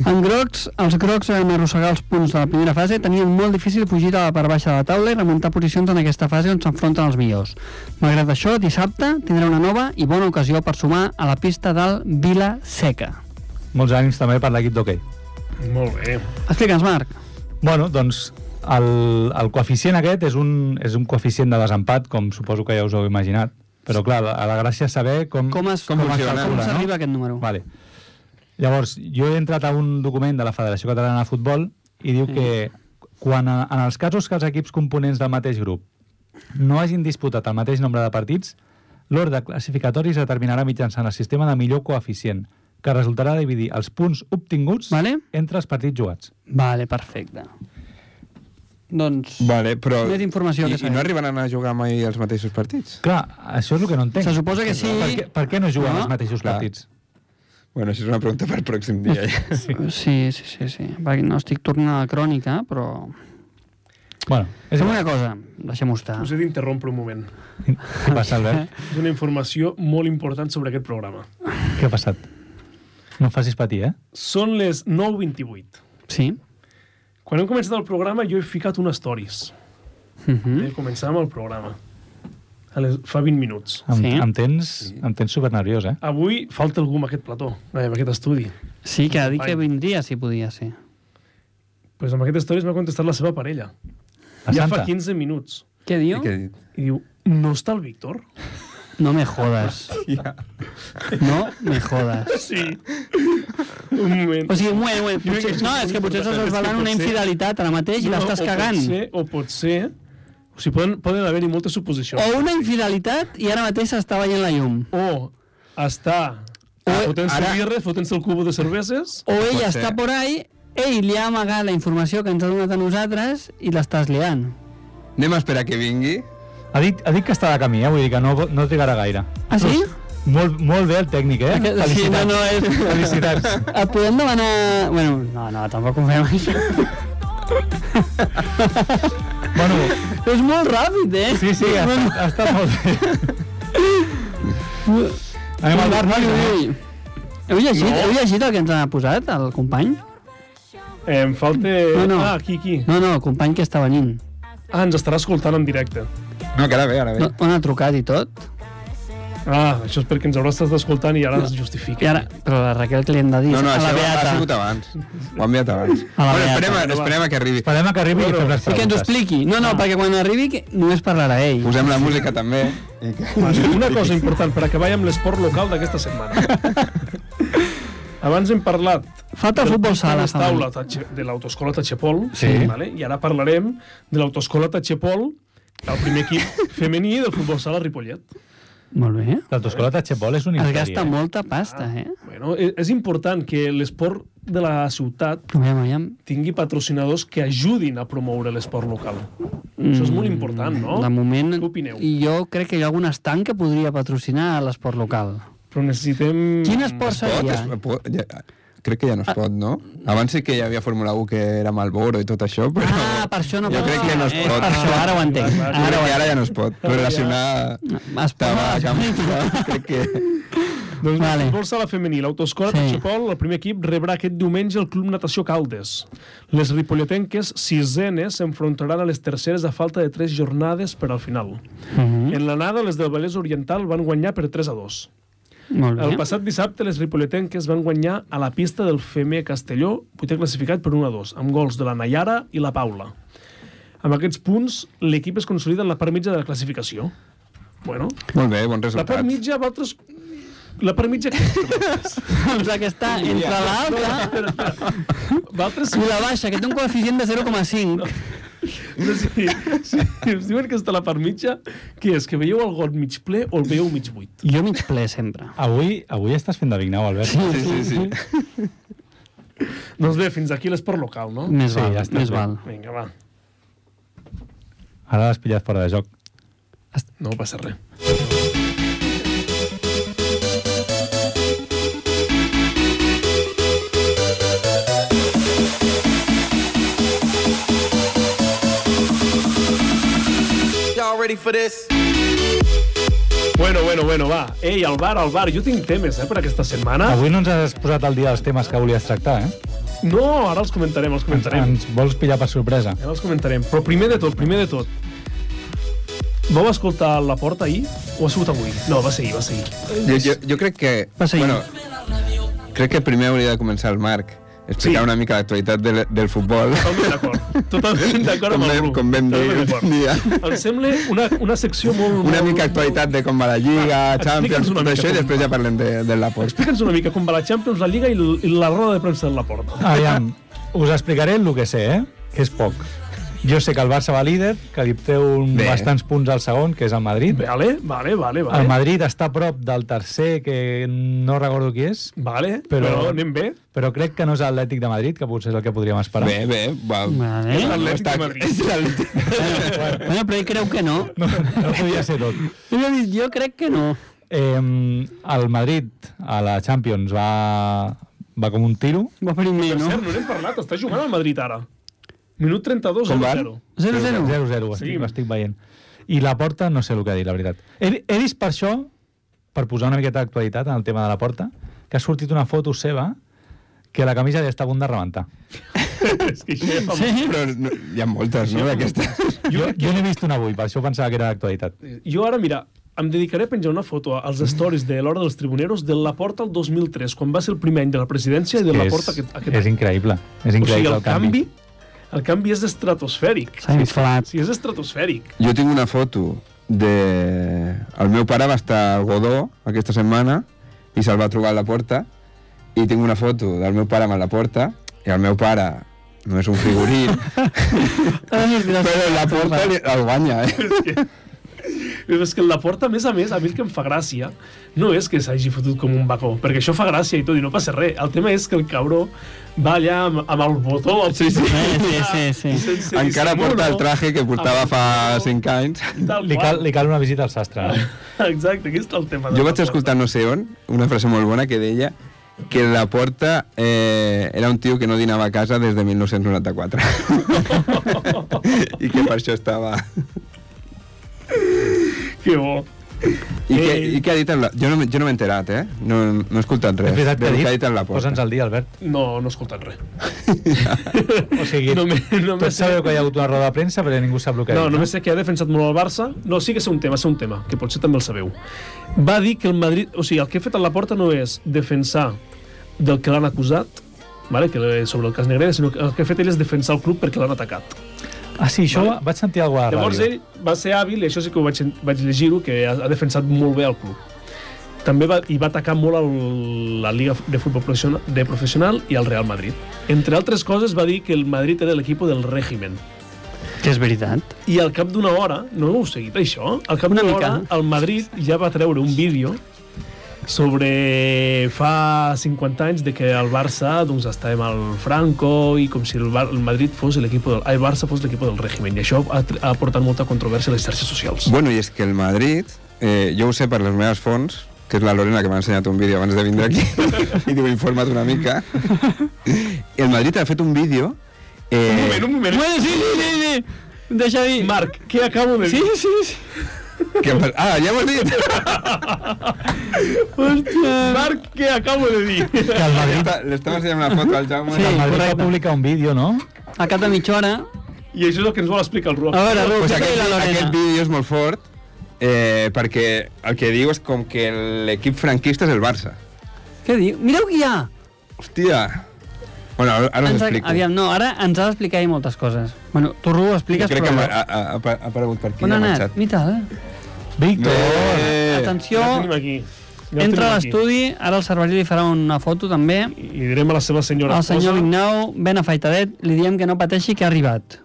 [SPEAKER 3] En grocs, els grocs van arrossegar els punts de la primera fase, tenien molt difícil fugir a la part baixa de la taula i remuntar posicions en aquesta fase on s'enfronten els millors. Malgrat això, dissabte tindrà una nova i bona ocasió per sumar a la pista del Vila Seca.
[SPEAKER 2] Molts ànims també per l'equip d'hoquei.
[SPEAKER 1] Molt bé.
[SPEAKER 3] Explica'ns, Marc.
[SPEAKER 2] Bueno, doncs el, el coeficient aquest és un, és un coeficient de desempat, com suposo que ja us heu imaginat. Però clar, la, la gràcia és saber com,
[SPEAKER 3] Com es,
[SPEAKER 2] com,
[SPEAKER 3] com, es-
[SPEAKER 2] calcula,
[SPEAKER 3] com
[SPEAKER 2] no?
[SPEAKER 3] s'arriba a aquest número?
[SPEAKER 2] Vale. Llavors, jo he entrat a un document de la Federació Catalana de Futbol i diu
[SPEAKER 3] Mm.
[SPEAKER 2] que quan a, en els casos que els equips components del mateix grup no hagin disputat el mateix nombre de partits, l'ordre classificatori es determinarà mitjançant el sistema de millor coeficient, que resultarà dividir els punts obtinguts
[SPEAKER 3] Vale.
[SPEAKER 2] entre els partits jugats.
[SPEAKER 3] Vale, perfecte. Doncs...
[SPEAKER 4] Vale, però...
[SPEAKER 3] Més informació
[SPEAKER 4] I,
[SPEAKER 3] que
[SPEAKER 4] I no
[SPEAKER 3] sabem.
[SPEAKER 4] arribaran a jugar mai els mateixos partits?
[SPEAKER 2] Clar, això és el que no entenc.
[SPEAKER 3] Se suposa que sí.
[SPEAKER 2] Per què, per què no juguen
[SPEAKER 3] No?
[SPEAKER 2] els mateixos
[SPEAKER 4] Clar.
[SPEAKER 2] partits?
[SPEAKER 4] Bueno, això és una pregunta per pròxim dia. ja.
[SPEAKER 3] Sí, sí, sí, sí. Perquè no estic tornant a la crònica, però...
[SPEAKER 2] Bueno, és
[SPEAKER 3] Fem
[SPEAKER 2] igual.
[SPEAKER 3] una cosa, deixem-ho estar.
[SPEAKER 1] Us he d'interrompre un moment.
[SPEAKER 2] Què passa,
[SPEAKER 3] (laughs)
[SPEAKER 2] Albert?
[SPEAKER 1] És una informació molt important sobre aquest programa.
[SPEAKER 2] Què ha passat? No em facis patir, eh?
[SPEAKER 1] Són les 9.28.
[SPEAKER 3] Sí.
[SPEAKER 1] Quan hem començat el programa jo he ficat unes stories.
[SPEAKER 3] Mm -hmm.
[SPEAKER 1] Eh? Començàvem el programa. A les, fa 20 minuts.
[SPEAKER 2] Em,
[SPEAKER 3] Sí.
[SPEAKER 2] sí. em tens, em tens supernerviós, eh?
[SPEAKER 1] Avui falta algú amb aquest plató, eh, amb aquest estudi.
[SPEAKER 3] Sí, que ha dit que vindria, si podia ser.
[SPEAKER 1] pues amb aquestes històries m'ha contestat la seva parella.
[SPEAKER 2] La
[SPEAKER 1] ja
[SPEAKER 2] Santa.
[SPEAKER 1] fa 15 minuts.
[SPEAKER 3] Què diu?
[SPEAKER 4] Què he dit?
[SPEAKER 1] I diu, no està el Víctor?
[SPEAKER 3] No me jodes. No me jodes.
[SPEAKER 1] Sí. Un moment.
[SPEAKER 3] O sigui, un moment, un moment. Potser, no, és que potser estàs desvelant una infidelitat ara mateix i l'estàs
[SPEAKER 1] o
[SPEAKER 3] cagant.
[SPEAKER 1] Pot ser, o pot ser... O sigui, poden, poden haver-hi moltes suposicions.
[SPEAKER 3] O una infidelitat i ara mateix s'està veient la llum.
[SPEAKER 1] O està... eh,
[SPEAKER 3] O-
[SPEAKER 1] Fotent-se
[SPEAKER 4] ara-
[SPEAKER 1] ara... birres, fotent-se el cubo de cerveses...
[SPEAKER 3] O ella
[SPEAKER 4] ser.
[SPEAKER 3] està por ahí, ell li ha amagat la informació que ens ha donat a nosaltres i l'estàs liant.
[SPEAKER 4] Anem a esperar que vingui.
[SPEAKER 2] Ha dit, ha dit que està de camí, eh? Vull dir que no, no trigarà gaire.
[SPEAKER 3] Ah, sí?
[SPEAKER 2] Molt, molt bé el tècnic, eh?
[SPEAKER 3] Aquest-
[SPEAKER 2] Felicitats.
[SPEAKER 3] sí, no, no, és-
[SPEAKER 2] Felicitats.
[SPEAKER 3] (laughs) Et podem demanar... Bueno, no, no, tampoc ho fem, això.
[SPEAKER 2] bueno,
[SPEAKER 3] és molt ràpid, eh?
[SPEAKER 2] sí, sí, ha, estat- ha estat molt bé. Anem al bar, nois, eh?
[SPEAKER 3] Ui, ui. Heu llegit, heu llegit el que ens ha posat, el company?
[SPEAKER 1] Eh, em falta...
[SPEAKER 3] No, no.
[SPEAKER 1] Ah, aquí, aquí.
[SPEAKER 3] No, no, el company que està venint.
[SPEAKER 1] Ah, ens estarà escoltant en directe.
[SPEAKER 4] No, que ara bé, ara bé.
[SPEAKER 3] No, on ha trucat i tot.
[SPEAKER 1] Ah, això és perquè ens haurà estat escoltant i ara es
[SPEAKER 3] I
[SPEAKER 1] justifica.
[SPEAKER 3] ara, però la Raquel que li hem de dir
[SPEAKER 4] No, no,
[SPEAKER 3] a
[SPEAKER 4] això
[SPEAKER 3] la
[SPEAKER 4] ha
[SPEAKER 3] Beata.
[SPEAKER 4] sigut abans. Ho ha enviat
[SPEAKER 3] A
[SPEAKER 4] abans.
[SPEAKER 3] la
[SPEAKER 4] Bueno,
[SPEAKER 3] Beata.
[SPEAKER 4] esperem, a, esperem a que arribi.
[SPEAKER 2] Esperem a que arribi i fem les preguntes.
[SPEAKER 3] I que ens ho expliqui. No, no, perquè quan arribi que només parlarà ell.
[SPEAKER 4] Posem la música també. I que...
[SPEAKER 1] Una cosa important per acabar ja amb l'esport local d'aquesta setmana. Abans hem parlat
[SPEAKER 3] Falta
[SPEAKER 1] del
[SPEAKER 3] futbol
[SPEAKER 1] pis de
[SPEAKER 3] sala.
[SPEAKER 1] les taula Tatxe- de l'autoescola Tachepol, sí. vale? i ara parlarem de l'autoescola Tachepol, el primer
[SPEAKER 3] (laughs)
[SPEAKER 1] equip femení del futbol sala Ripollet.
[SPEAKER 3] Molt bé.
[SPEAKER 2] L'autoescola Tachepol és un
[SPEAKER 3] Es
[SPEAKER 2] imperi.
[SPEAKER 3] gasta
[SPEAKER 2] eh?
[SPEAKER 3] molta pasta, eh?
[SPEAKER 1] Bueno, e- és important que l'esport de la ciutat
[SPEAKER 3] Aviam, aviam.
[SPEAKER 1] tingui patrocinadors que ajudin a promoure l'esport local. Això és molt important, no?
[SPEAKER 3] Mm, De moment,
[SPEAKER 1] Què opineu?
[SPEAKER 3] jo crec que hi ha algun estanc que podria patrocinar l'esport local.
[SPEAKER 1] Però necessitem...
[SPEAKER 3] Quin esport
[SPEAKER 4] Pot,
[SPEAKER 3] seria?
[SPEAKER 4] es, pot, ja, crec que ja no
[SPEAKER 3] Ah.
[SPEAKER 4] es pot, no? Abans sí que hi havia Fórmula 1 que era Malboro i tot això, però...
[SPEAKER 3] Ah, per això no
[SPEAKER 4] Jo
[SPEAKER 3] pot.
[SPEAKER 4] crec que no es
[SPEAKER 3] És
[SPEAKER 4] pot.
[SPEAKER 3] per això, ara ho entenc.
[SPEAKER 1] clar,
[SPEAKER 3] Ah, Ara
[SPEAKER 4] Ara,
[SPEAKER 3] ho Ah,
[SPEAKER 4] ara ja no es pot relacionar
[SPEAKER 3] entenc. Es
[SPEAKER 4] tabac amb...
[SPEAKER 3] (laughs)
[SPEAKER 4] Crec que...
[SPEAKER 1] Doncs
[SPEAKER 3] Vale.
[SPEAKER 1] vale. el futbol sala femení, l'autoescola
[SPEAKER 3] Sí.
[SPEAKER 1] sí. Tachepol, el primer equip, rebrà aquest diumenge el Club Natació Caldes. Les ripolletenques sisenes s'enfrontaran a les terceres a falta de tres jornades per al final.
[SPEAKER 3] Mhm.
[SPEAKER 1] En l'anada, les del Vallès Oriental van guanyar per 3 a 2.
[SPEAKER 3] Molt
[SPEAKER 1] El
[SPEAKER 3] bé.
[SPEAKER 1] passat dissabte, les ripolletenques van guanyar a la pista del Femer Castelló, vuitè classificat per 1 a 2, amb gols de la Nayara i la Paula. Amb aquests punts, l'equip es consolida en la part mitja de la classificació. Bueno,
[SPEAKER 4] Molt bé, bon
[SPEAKER 1] la part
[SPEAKER 4] resultat.
[SPEAKER 1] mitja, vosaltres... La part mitja...
[SPEAKER 3] (laughs) Doncs la que està entre l'alta
[SPEAKER 1] Vosaltres...
[SPEAKER 3] i la baixa, que té un coeficient de 0,5.
[SPEAKER 1] No, sí, sí, us diuen que està a la part mitja, què és? Que veieu el got mig ple o el veieu mig buit?
[SPEAKER 3] Jo mig ple, sempre.
[SPEAKER 2] Avui, avui estàs fent de Vignau, Albert.
[SPEAKER 4] Sí, sí, sí.
[SPEAKER 1] Doncs bé, fins aquí l'esport local, no?
[SPEAKER 3] Més
[SPEAKER 2] Sí,
[SPEAKER 3] val,
[SPEAKER 2] ja està
[SPEAKER 3] més
[SPEAKER 2] bé.
[SPEAKER 3] val.
[SPEAKER 1] Vinga, va.
[SPEAKER 2] Ara l'has pillat fora de joc.
[SPEAKER 1] No passa res.
[SPEAKER 6] Y'all ready for this?
[SPEAKER 1] Bueno, bueno, bueno, va. Ei, al bar, al bar. Jo tinc temes, eh, per aquesta setmana.
[SPEAKER 2] Avui no ens has posat al dia els temes que volies tractar, eh?
[SPEAKER 1] No, ara els comentarem, els comentarem.
[SPEAKER 2] Ens vols pillar per sorpresa.
[SPEAKER 1] Ara els comentarem. Però primer de tot, primer de tot. Vau escoltar la porta ahir? O ha sigut avui? No, va ser ahir, va ser ahir.
[SPEAKER 4] Jo, jo, jo crec que...
[SPEAKER 3] Va seguir.
[SPEAKER 4] Bueno, crec que primer hauria de començar el Marc.
[SPEAKER 1] Sí.
[SPEAKER 4] Explicar una mica l'actualitat del, del futbol. (laughs)
[SPEAKER 1] Totalment d'acord. Totalment d'acord amb
[SPEAKER 4] Com
[SPEAKER 1] el
[SPEAKER 4] vam-
[SPEAKER 1] grup.
[SPEAKER 4] com vam dir
[SPEAKER 1] Totalment
[SPEAKER 4] un dia.
[SPEAKER 1] d'acord. Em sembla una, una secció molt...
[SPEAKER 4] Una
[SPEAKER 1] molt-
[SPEAKER 4] mica actualitat de com va la Lliga, Champions,
[SPEAKER 1] explica'ns una
[SPEAKER 4] tot
[SPEAKER 1] mica
[SPEAKER 4] això, i
[SPEAKER 1] com
[SPEAKER 4] després ja parlem de, de la post.
[SPEAKER 1] Explica'ns una mica com va la Champions, la Lliga i, l- i la roda de premsa de la porta.
[SPEAKER 2] Aviam, us explicaré el que sé, eh? Que és poc. Jo sé que el Barça va líder, que li treu un-
[SPEAKER 4] Bé.
[SPEAKER 2] bastants punts al segon, que és el Madrid.
[SPEAKER 1] Vale, vale, vale, vale.
[SPEAKER 2] El Madrid està a prop del tercer, que no recordo qui és,
[SPEAKER 1] Vale, però...
[SPEAKER 2] Però- Eh?
[SPEAKER 1] però anem bé.
[SPEAKER 2] però crec que no és l'Atlètic de Madrid, que potser és el que podríem esperar.
[SPEAKER 4] Bé, bé, va.
[SPEAKER 3] Vale.
[SPEAKER 1] És l'Atlètic
[SPEAKER 4] Està-
[SPEAKER 1] de Madrid.
[SPEAKER 4] És l'Atlètic.
[SPEAKER 3] Bueno, però ell creu que no.
[SPEAKER 2] (laughs) No, no podia ser tot.
[SPEAKER 3] Jo, he dit, jo crec que no.
[SPEAKER 2] Eh, el Madrid a la Champions va, va com un tiro.
[SPEAKER 3] Va primer,
[SPEAKER 1] Per
[SPEAKER 3] no?
[SPEAKER 1] cert, no n'hem parlat, està jugant al Madrid ara. Minut 32,
[SPEAKER 4] Com
[SPEAKER 1] 0-0.
[SPEAKER 4] van?
[SPEAKER 3] 0-0.
[SPEAKER 2] 0-0, estic,
[SPEAKER 1] Seguim.
[SPEAKER 2] estic veient. I la porta, no sé el que ha dit, la veritat. He, he vist per això, per posar una miqueta d'actualitat en el tema de la porta, que ha sortit una foto seva que la camisa ja està a punt de rebentar.
[SPEAKER 1] És que això ja fa molt.
[SPEAKER 4] Però no, hi ha moltes, no, d'aquestes?
[SPEAKER 2] Jo, jo n'he vist una avui, per això pensava que era d'actualitat.
[SPEAKER 1] Jo ara, mira, em dedicaré a penjar una foto als stories de l'Hora dels Tribuneros de la porta al 2003, quan va ser el primer any de la presidència i de la
[SPEAKER 2] és,
[SPEAKER 1] porta aquest, aquest
[SPEAKER 2] és
[SPEAKER 1] any.
[SPEAKER 2] increïble.
[SPEAKER 1] O
[SPEAKER 2] És
[SPEAKER 1] sigui,
[SPEAKER 2] increïble
[SPEAKER 1] el canvi, el canvi és estratosfèric.
[SPEAKER 3] S'ha inflat.
[SPEAKER 1] Sí, és estratosfèric.
[SPEAKER 4] Jo tinc una foto de... El meu pare va estar a Godó aquesta setmana i se'l va trobar a la porta i tinc una foto del meu pare amb la porta i el meu pare no és un
[SPEAKER 3] (laughs)
[SPEAKER 4] figurín,
[SPEAKER 3] Ara no es dirà-
[SPEAKER 4] però la porta li, el guanya, eh?
[SPEAKER 1] Dius, és que la porta, a més a més, a mi el que em fa gràcia no és que s'hagi fotut com un bacó, perquè això fa gràcia i tot, i no passa res. El tema és que el cabró va allà amb, amb el botó al
[SPEAKER 4] Sí, sí.
[SPEAKER 3] Sí, sí, sí. Ah,
[SPEAKER 1] sense
[SPEAKER 4] Encara
[SPEAKER 1] dissimulo.
[SPEAKER 4] porta el traje que portava fa 5 anys.
[SPEAKER 1] Tal
[SPEAKER 2] Li cal,
[SPEAKER 1] qual.
[SPEAKER 2] li cal una visita al sastre. no?
[SPEAKER 1] Exacte, aquest és el tema. de
[SPEAKER 4] Jo
[SPEAKER 1] la
[SPEAKER 4] vaig
[SPEAKER 1] porta.
[SPEAKER 4] escoltar no sé on una frase molt bona que deia que la porta eh, era un tio que no dinava a casa des de
[SPEAKER 3] (laughs)
[SPEAKER 4] 1994. I que per això estava...
[SPEAKER 1] (laughs) Que bo.
[SPEAKER 4] I, què,
[SPEAKER 1] Ei.
[SPEAKER 4] i què ha dit en la... Jo no, m'he- jo no m'he enterat, eh? No, no he escoltat res.
[SPEAKER 2] És veritat que
[SPEAKER 4] del
[SPEAKER 2] ha dit,
[SPEAKER 4] ha dit en la porta.
[SPEAKER 2] posa'ns al dia, Albert.
[SPEAKER 1] No, no he escoltat res.
[SPEAKER 2] O sigui,
[SPEAKER 1] No me- no me
[SPEAKER 2] tots
[SPEAKER 1] sé.
[SPEAKER 2] sabeu que hi ha hagut una roda de premsa, però ningú sap el que ha
[SPEAKER 1] No,
[SPEAKER 2] dit.
[SPEAKER 1] només sé que ha defensat molt el Barça. No, sí que és un tema, és un tema, que potser també el sabeu. Va dir que el Madrid... O sigui, el que ha fet a la porta no és defensar del que l'han acusat, vale, que eh, sobre el cas Negrera, sinó que el que ha fet ell és defensar el club perquè l'han atacat.
[SPEAKER 2] Ah, sí, això
[SPEAKER 1] Vale.
[SPEAKER 2] vaig sentir alguna cosa a la
[SPEAKER 1] Llavors
[SPEAKER 2] ràdio.
[SPEAKER 1] ell va ser hàbil, i això sí que ho vaig, vaig llegir-ho, que ha, ha defensat molt bé el club. També va, i va atacar molt el, la Liga de Futbol Professional, de Professional i el Real Madrid. Entre altres coses va dir que el Madrid era l'equip del régimen.
[SPEAKER 3] Que és veritat.
[SPEAKER 1] I al cap d'una hora, no heu seguit això? Al cap
[SPEAKER 3] Una
[SPEAKER 1] d'una hora,
[SPEAKER 3] mica.
[SPEAKER 1] el Madrid ja va treure un vídeo sobre fa 50 anys de que el Barça doncs, estàvem al Franco i com si el, Bar el Madrid fos l'equip del... ai, El Barça fos l'equip del règim. I això ha, tr- ha portat molta controvèrsia a les xarxes socials.
[SPEAKER 4] Bueno, i és que el Madrid, eh, jo ho sé per les meves fonts, que és la Lorena que m'ha ensenyat un vídeo abans de vindre aquí, (laughs) i diu, informa't una mica. El Madrid ha fet un vídeo... Eh, un moment, un
[SPEAKER 3] Bueno, sí, sí, sí, sí. Deixa dir...
[SPEAKER 1] Marc, què acabo de
[SPEAKER 3] Sí,
[SPEAKER 1] dir?
[SPEAKER 3] sí, sí.
[SPEAKER 4] Que, em fa- ah, ja ho has dit!
[SPEAKER 3] Hòstia.
[SPEAKER 1] Marc, què acabo de
[SPEAKER 3] (laughs)
[SPEAKER 1] dir?
[SPEAKER 2] Que el Madrid,
[SPEAKER 4] L'estava- L'estava ensenyant una foto al Jaume.
[SPEAKER 3] Sí.
[SPEAKER 2] el Madrid va
[SPEAKER 3] correcte.
[SPEAKER 2] publicar un vídeo, no?
[SPEAKER 3] A cap de mitja hora...
[SPEAKER 1] I això és el que ens vol explicar el Roc.
[SPEAKER 3] A veure, Ruc,
[SPEAKER 4] Pues
[SPEAKER 3] què
[SPEAKER 4] aquest,
[SPEAKER 3] la
[SPEAKER 4] aquest
[SPEAKER 3] Lorena?
[SPEAKER 4] vídeo és molt fort, eh, perquè el que diu és com que l'equip franquista és el Barça.
[SPEAKER 3] Què diu? Mireu qui hi ha!
[SPEAKER 4] Hòstia! Bueno, ara- ara us
[SPEAKER 3] Ens ha,
[SPEAKER 4] explico.
[SPEAKER 3] aviam, no, ara ens ha d'explicar ell moltes coses. Bueno, tu, Ru, ho
[SPEAKER 4] Jo
[SPEAKER 3] expliques,
[SPEAKER 4] crec que
[SPEAKER 3] però...
[SPEAKER 4] ha, ha, ha ha aparegut per aquí.
[SPEAKER 3] On ha
[SPEAKER 4] i ha
[SPEAKER 3] anat?
[SPEAKER 4] marxat.
[SPEAKER 3] Mital, eh?
[SPEAKER 2] Víctor,
[SPEAKER 4] Eh,
[SPEAKER 3] Atenció,
[SPEAKER 1] Ja el tenim aquí. Ja el
[SPEAKER 3] entra
[SPEAKER 1] tenim
[SPEAKER 3] a
[SPEAKER 1] aquí.
[SPEAKER 3] l'estudi, ara el Cervelló li farà una foto també.
[SPEAKER 1] Li direm a la seva senyora
[SPEAKER 3] El senyor
[SPEAKER 1] esposa.
[SPEAKER 3] Vignau, ben afaitadet, li diem que no pateixi que ha arribat.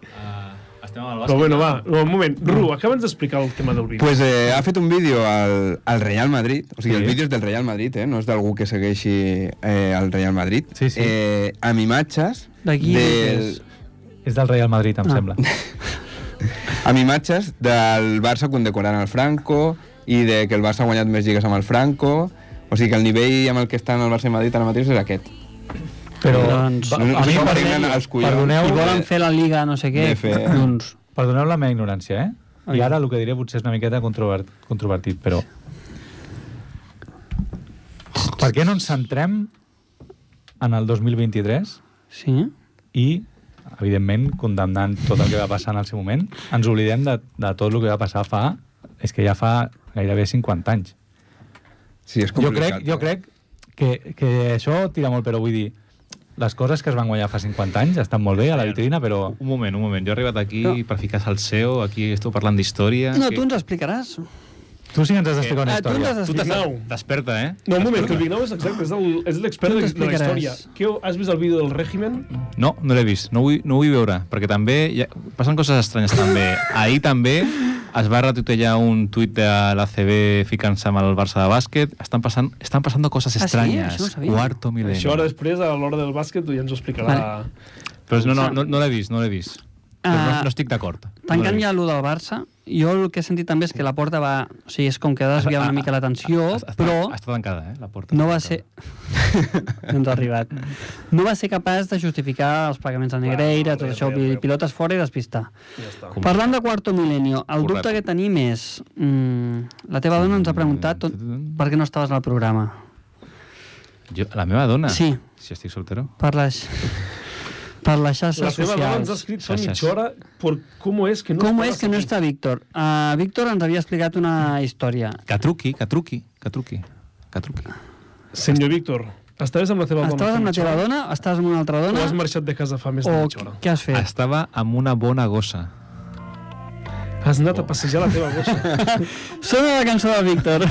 [SPEAKER 7] Estem al
[SPEAKER 1] Però bueno, va, un moment. Ru, acaba'ns d'explicar el tema del vídeo.
[SPEAKER 4] Pues eh, ha fet un vídeo al, al Real Madrid, o sigui, sí. el vídeo és del Real Madrid, eh? no és d'algú que segueixi eh, el Real Madrid,
[SPEAKER 2] Sí, sí.
[SPEAKER 4] Eh, amb imatges
[SPEAKER 3] D'aquí
[SPEAKER 4] del,
[SPEAKER 3] és.
[SPEAKER 2] és del Real Madrid, em
[SPEAKER 3] Ah.
[SPEAKER 2] sembla.
[SPEAKER 4] amb imatges del Barça condecorant el Franco i de que el Barça ha guanyat més lligues amb el Franco, o sigui que el nivell amb el que estan el Barça i Madrid ara mateix és aquest.
[SPEAKER 2] Però
[SPEAKER 3] Doncs-
[SPEAKER 2] va-
[SPEAKER 4] No, no,
[SPEAKER 2] a mi,
[SPEAKER 4] no,
[SPEAKER 2] perdoneu,
[SPEAKER 4] no, els collons.
[SPEAKER 2] perdoneu,
[SPEAKER 3] I volen
[SPEAKER 4] Eh,
[SPEAKER 3] fer la Liga no sé què, Doncs,
[SPEAKER 4] de fer-
[SPEAKER 3] junts.
[SPEAKER 2] perdoneu la meva ignorància, eh? I ara el que diré potser és una miqueta controvert, controvertit, però... Per què no ens centrem en el 2023
[SPEAKER 3] Sí?
[SPEAKER 2] i, evidentment, condemnant tot el que va passar en el seu moment, ens oblidem de, de tot el que va passar fa... És que ja fa gairebé 50 anys.
[SPEAKER 4] Sí,
[SPEAKER 2] Jo
[SPEAKER 4] és complicat. eh.
[SPEAKER 2] crec,
[SPEAKER 7] eh?
[SPEAKER 2] jo crec que, que això tira molt, però vull dir, les coses que es van guanyar fa 50 anys estan molt bé a la vitrina, però...
[SPEAKER 7] Un moment, un moment. Jo he arribat aquí
[SPEAKER 3] No.
[SPEAKER 7] per ficar salseo, aquí esteu parlant d'història...
[SPEAKER 3] No,
[SPEAKER 7] que-
[SPEAKER 3] tu ens explicaràs.
[SPEAKER 2] Tu sí que ens has d'explicar una
[SPEAKER 3] Ah, tu ens
[SPEAKER 2] història.
[SPEAKER 3] has
[SPEAKER 7] Tu t'has-
[SPEAKER 3] d'explicar.
[SPEAKER 1] Vignau.
[SPEAKER 7] Desperta, eh?
[SPEAKER 1] No, un moment, que el Vignau és exacte, és el- és l'expert
[SPEAKER 3] Tu
[SPEAKER 1] de, de la
[SPEAKER 3] t'explicaràs.
[SPEAKER 1] història. Què, has vist el vídeo del règimen?
[SPEAKER 7] No, no l'he vist. No ho vull, no ho vull veure, perquè també hi ha... passen coses estranyes també.
[SPEAKER 3] (laughs)
[SPEAKER 7] Ahir també es va retuitejar un tuit de l'ACB ficant-se amb el Barça de bàsquet. Estan passant, estan passant coses
[SPEAKER 3] Ah, sí?
[SPEAKER 7] estranyes.
[SPEAKER 3] Això no ho sabia.
[SPEAKER 7] Quarto milenio.
[SPEAKER 1] Això ara després, a l'hora del bàsquet, ja ens ho explicarà...
[SPEAKER 3] Vale.
[SPEAKER 7] Però no, no, no, no l'he vist, no l'he vist. Però no,
[SPEAKER 3] Ah,
[SPEAKER 7] no estic d'acord.
[SPEAKER 3] Tancant
[SPEAKER 7] no l'he
[SPEAKER 3] ja
[SPEAKER 7] vist.
[SPEAKER 3] allò del Barça, jo el que he sentit també és que la porta va... O sigui, és com que ha desviat una mica l'atenció,
[SPEAKER 7] Ah, Està-
[SPEAKER 3] però
[SPEAKER 7] Està tancada, eh, la porta.
[SPEAKER 3] no va
[SPEAKER 7] Està
[SPEAKER 3] ser...
[SPEAKER 7] tancada.
[SPEAKER 3] (laughs) no ens ha arribat. No va ser capaç de justificar els pagaments de Negreira, tot això, pi- pilotes fora i despistar.
[SPEAKER 1] Ja està.
[SPEAKER 7] Com-
[SPEAKER 3] Parlant de Quarto Milenio, el
[SPEAKER 7] Correcte.
[SPEAKER 3] dubte que tenim és... Mm, la teva dona ens ha preguntat tot, per què no estaves al programa.
[SPEAKER 7] Jo, la meva dona?
[SPEAKER 3] Sí.
[SPEAKER 7] Si estic soltero.
[SPEAKER 3] Per les, (laughs) per les
[SPEAKER 1] La
[SPEAKER 3] xarxes
[SPEAKER 1] seva dona ens ha
[SPEAKER 3] socials.
[SPEAKER 1] escrit fa
[SPEAKER 7] Xarxes.
[SPEAKER 1] mitja hora per com és que no...
[SPEAKER 3] Com
[SPEAKER 1] estàs
[SPEAKER 3] és que no
[SPEAKER 1] aquí.
[SPEAKER 3] està Víctor? Uh, Víctor ens havia explicat una història.
[SPEAKER 7] Que truqui, que truqui, que truqui, que truqui.
[SPEAKER 1] Senyor Víctor, estaves amb la teva dona
[SPEAKER 3] Estaves
[SPEAKER 1] fa
[SPEAKER 3] amb la
[SPEAKER 1] mitja
[SPEAKER 3] teva
[SPEAKER 1] hora?
[SPEAKER 3] dona? Estaves amb una altra
[SPEAKER 1] O has
[SPEAKER 3] dona?
[SPEAKER 1] marxat de casa fa més
[SPEAKER 3] O
[SPEAKER 1] de mitja hora?
[SPEAKER 3] què has
[SPEAKER 2] Ah,
[SPEAKER 3] fet?
[SPEAKER 7] Estava amb una bona gossa.
[SPEAKER 1] Has anat a passejar la teva
[SPEAKER 3] (laughs)
[SPEAKER 1] gossa.
[SPEAKER 3] Sona la cançó del Víctor.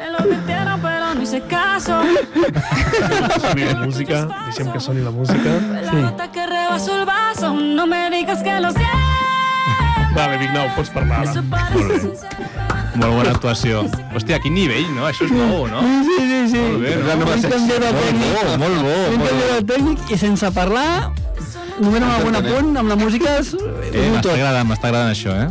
[SPEAKER 8] Me lo metieron, pero no hice caso.
[SPEAKER 1] Soni la música, deixem que soni la música.
[SPEAKER 8] Fue La gota que rebasó el vaso. No me digas que lo sientes.
[SPEAKER 1] Vale, Vignau, pots parlar ara.
[SPEAKER 7] Molt bona actuació. Hòstia, quin nivell, no? Això és nou,
[SPEAKER 3] (laughs)
[SPEAKER 7] no?
[SPEAKER 3] Sí, sí, sí.
[SPEAKER 7] Molt bé, no?
[SPEAKER 4] La nova
[SPEAKER 3] Un
[SPEAKER 4] secció.
[SPEAKER 3] canvi de tècnic.
[SPEAKER 7] Molt bo, molt bo.
[SPEAKER 3] Un
[SPEAKER 7] Molt
[SPEAKER 3] canvi
[SPEAKER 7] bo.
[SPEAKER 3] de tècnic i sense parlar, només amb algun apunt, amb la música, és
[SPEAKER 7] Eh,
[SPEAKER 3] un
[SPEAKER 7] m'està
[SPEAKER 3] tot.
[SPEAKER 7] agradant, m'està agradant això, eh?